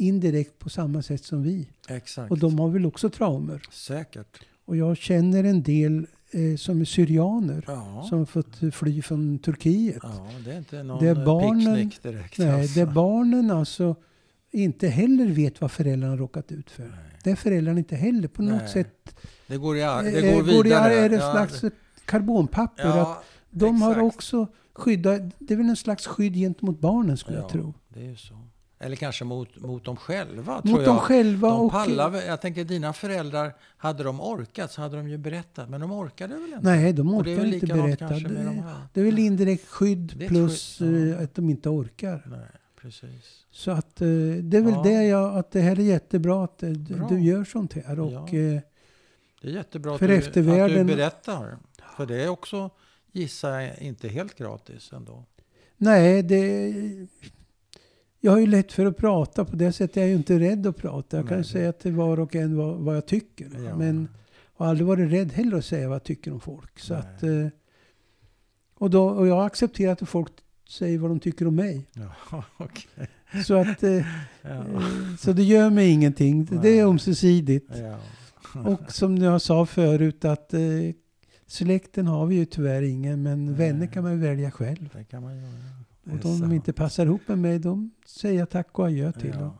Speaker 2: indirekt på samma sätt som vi.
Speaker 1: Exakt.
Speaker 2: Och de har väl också traumer.
Speaker 1: Säkert.
Speaker 2: Och jag känner en del eh, som är syrianer
Speaker 1: Ja.
Speaker 2: som har fått fly från Turkiet.
Speaker 1: ja, det är inte någon
Speaker 2: Det är
Speaker 1: eh,
Speaker 2: barnen-
Speaker 1: picknick direkt.
Speaker 2: Nej,
Speaker 1: alltså.
Speaker 2: där barnen alltså inte heller vet vad föräldrarna har råkat ut för.
Speaker 1: Nej.
Speaker 2: Det är föräldrarna inte heller på något
Speaker 1: Nej.
Speaker 2: sätt
Speaker 1: Det går, i, ar- det
Speaker 2: Eh,
Speaker 1: går vidare.
Speaker 2: är det
Speaker 1: Ja,
Speaker 2: slags karbonpapper? Att
Speaker 1: ja,
Speaker 2: de har
Speaker 1: exakt.
Speaker 2: också skyddat, det är väl en slags skydd gentemot barnen skulle
Speaker 1: Ja,
Speaker 2: jag tro.
Speaker 1: Det är ju så. Eller kanske mot, mot dem själva. tror
Speaker 2: Mot
Speaker 1: jag.
Speaker 2: dem själva
Speaker 1: De
Speaker 2: och...
Speaker 1: pallar, väl- jag tänker dina föräldrar, hade de orkat så hade de ju berättat. Men de orkade väl inte?
Speaker 2: Nej, de
Speaker 1: Och det är
Speaker 2: orkar
Speaker 1: väl
Speaker 2: inte
Speaker 1: likadant
Speaker 2: berätta.
Speaker 1: kanske med de
Speaker 2: Det,
Speaker 1: här.
Speaker 2: det är väl indirekt skydd
Speaker 1: Det är ett
Speaker 2: plus
Speaker 1: skydd, ja.
Speaker 2: eh, att de inte orkar.
Speaker 1: Nej, precis.
Speaker 2: Så att eh, det är väl
Speaker 1: Ja.
Speaker 2: det jag, att det här är jättebra att eh, du-
Speaker 1: Bra.
Speaker 2: du gör sånt här. Och,
Speaker 1: Ja.
Speaker 2: eh,
Speaker 1: Det är jättebra
Speaker 2: För
Speaker 1: att, du, att du
Speaker 2: eftervärlden-
Speaker 1: berättar. För det är också, gissa inte helt gratis ändå.
Speaker 2: Nej, det... Jag har ju lätt för att prata på det sättet. Jag är ju inte rädd att prata. Jag kan
Speaker 1: Nej,
Speaker 2: ju
Speaker 1: det-
Speaker 2: säga till var och en vad, vad jag tycker.
Speaker 1: Ja.
Speaker 2: Men jag har aldrig varit rädd heller att säga vad jag tycker om folk. Så
Speaker 1: Nej.
Speaker 2: att, eh, och, då, och jag har accepterat att folk säger vad de tycker om mig.
Speaker 1: Ja, okej.
Speaker 2: Så, att, eh,
Speaker 1: Ja.
Speaker 2: eh, så det gör mig ingenting. Det, det är
Speaker 1: Nej.
Speaker 2: ömsesidigt.
Speaker 1: Ja.
Speaker 2: Och som jag sa förut att eh, släkten har vi ju tyvärr ingen. Men
Speaker 1: Nej.
Speaker 2: vänner kan man ju välja själv.
Speaker 1: Det kan man göra. Det
Speaker 2: Och
Speaker 1: är
Speaker 2: de
Speaker 1: sant.
Speaker 2: som inte passar ihop med mig, de säger jag tack och adjö till.
Speaker 1: Ja.
Speaker 2: Och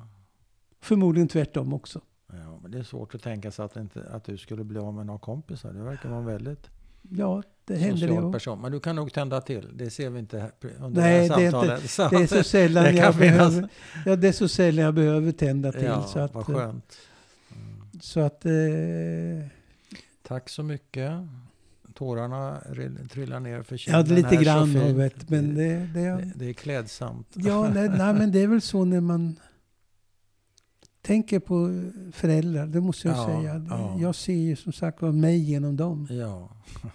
Speaker 2: förmodligen tvärtom också.
Speaker 1: Ja, men det är svårt att tänka sig att, inte, att du skulle bli av med några kompisar. Du verkar vara en väldigt
Speaker 2: Ja, det händer det.
Speaker 1: social
Speaker 2: också.
Speaker 1: person. Men du kan nog tända till. Det ser vi inte här under
Speaker 2: Nej,
Speaker 1: det
Speaker 2: det är
Speaker 1: här
Speaker 2: inte-
Speaker 1: samtalet. Så
Speaker 2: Det är
Speaker 1: att-
Speaker 2: så sällan
Speaker 1: Det kan
Speaker 2: jag
Speaker 1: finnas.
Speaker 2: behöver, ja, det är så sällan jag behöver tända till.
Speaker 1: ja,
Speaker 2: så att, eh,
Speaker 1: vad skönt. Mm.
Speaker 2: Så att eh,
Speaker 1: Tack så mycket. Tårarna rill- trillar ner för
Speaker 2: ja, det är lite
Speaker 1: här så
Speaker 2: grann
Speaker 1: fint.
Speaker 2: jag vet, men
Speaker 1: det,
Speaker 2: det, det,
Speaker 1: det, det är klädsamt.
Speaker 2: ja, nej, nej, men det är väl så när man tänker på föräldrar, det måste jag
Speaker 1: Ja,
Speaker 2: säga.
Speaker 1: ja.
Speaker 2: Jag ser ju som sagt var mig genom dem.
Speaker 1: Ja,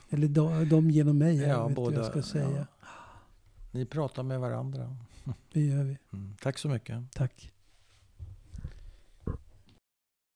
Speaker 2: Eller de, de genom mig.
Speaker 1: Ja,
Speaker 2: jag vet
Speaker 1: båda,
Speaker 2: båda, jag ska
Speaker 1: ja.
Speaker 2: säga.
Speaker 1: ni pratar med varandra.
Speaker 2: Det gör vi.
Speaker 1: Mm. Tack så mycket.
Speaker 2: Tack.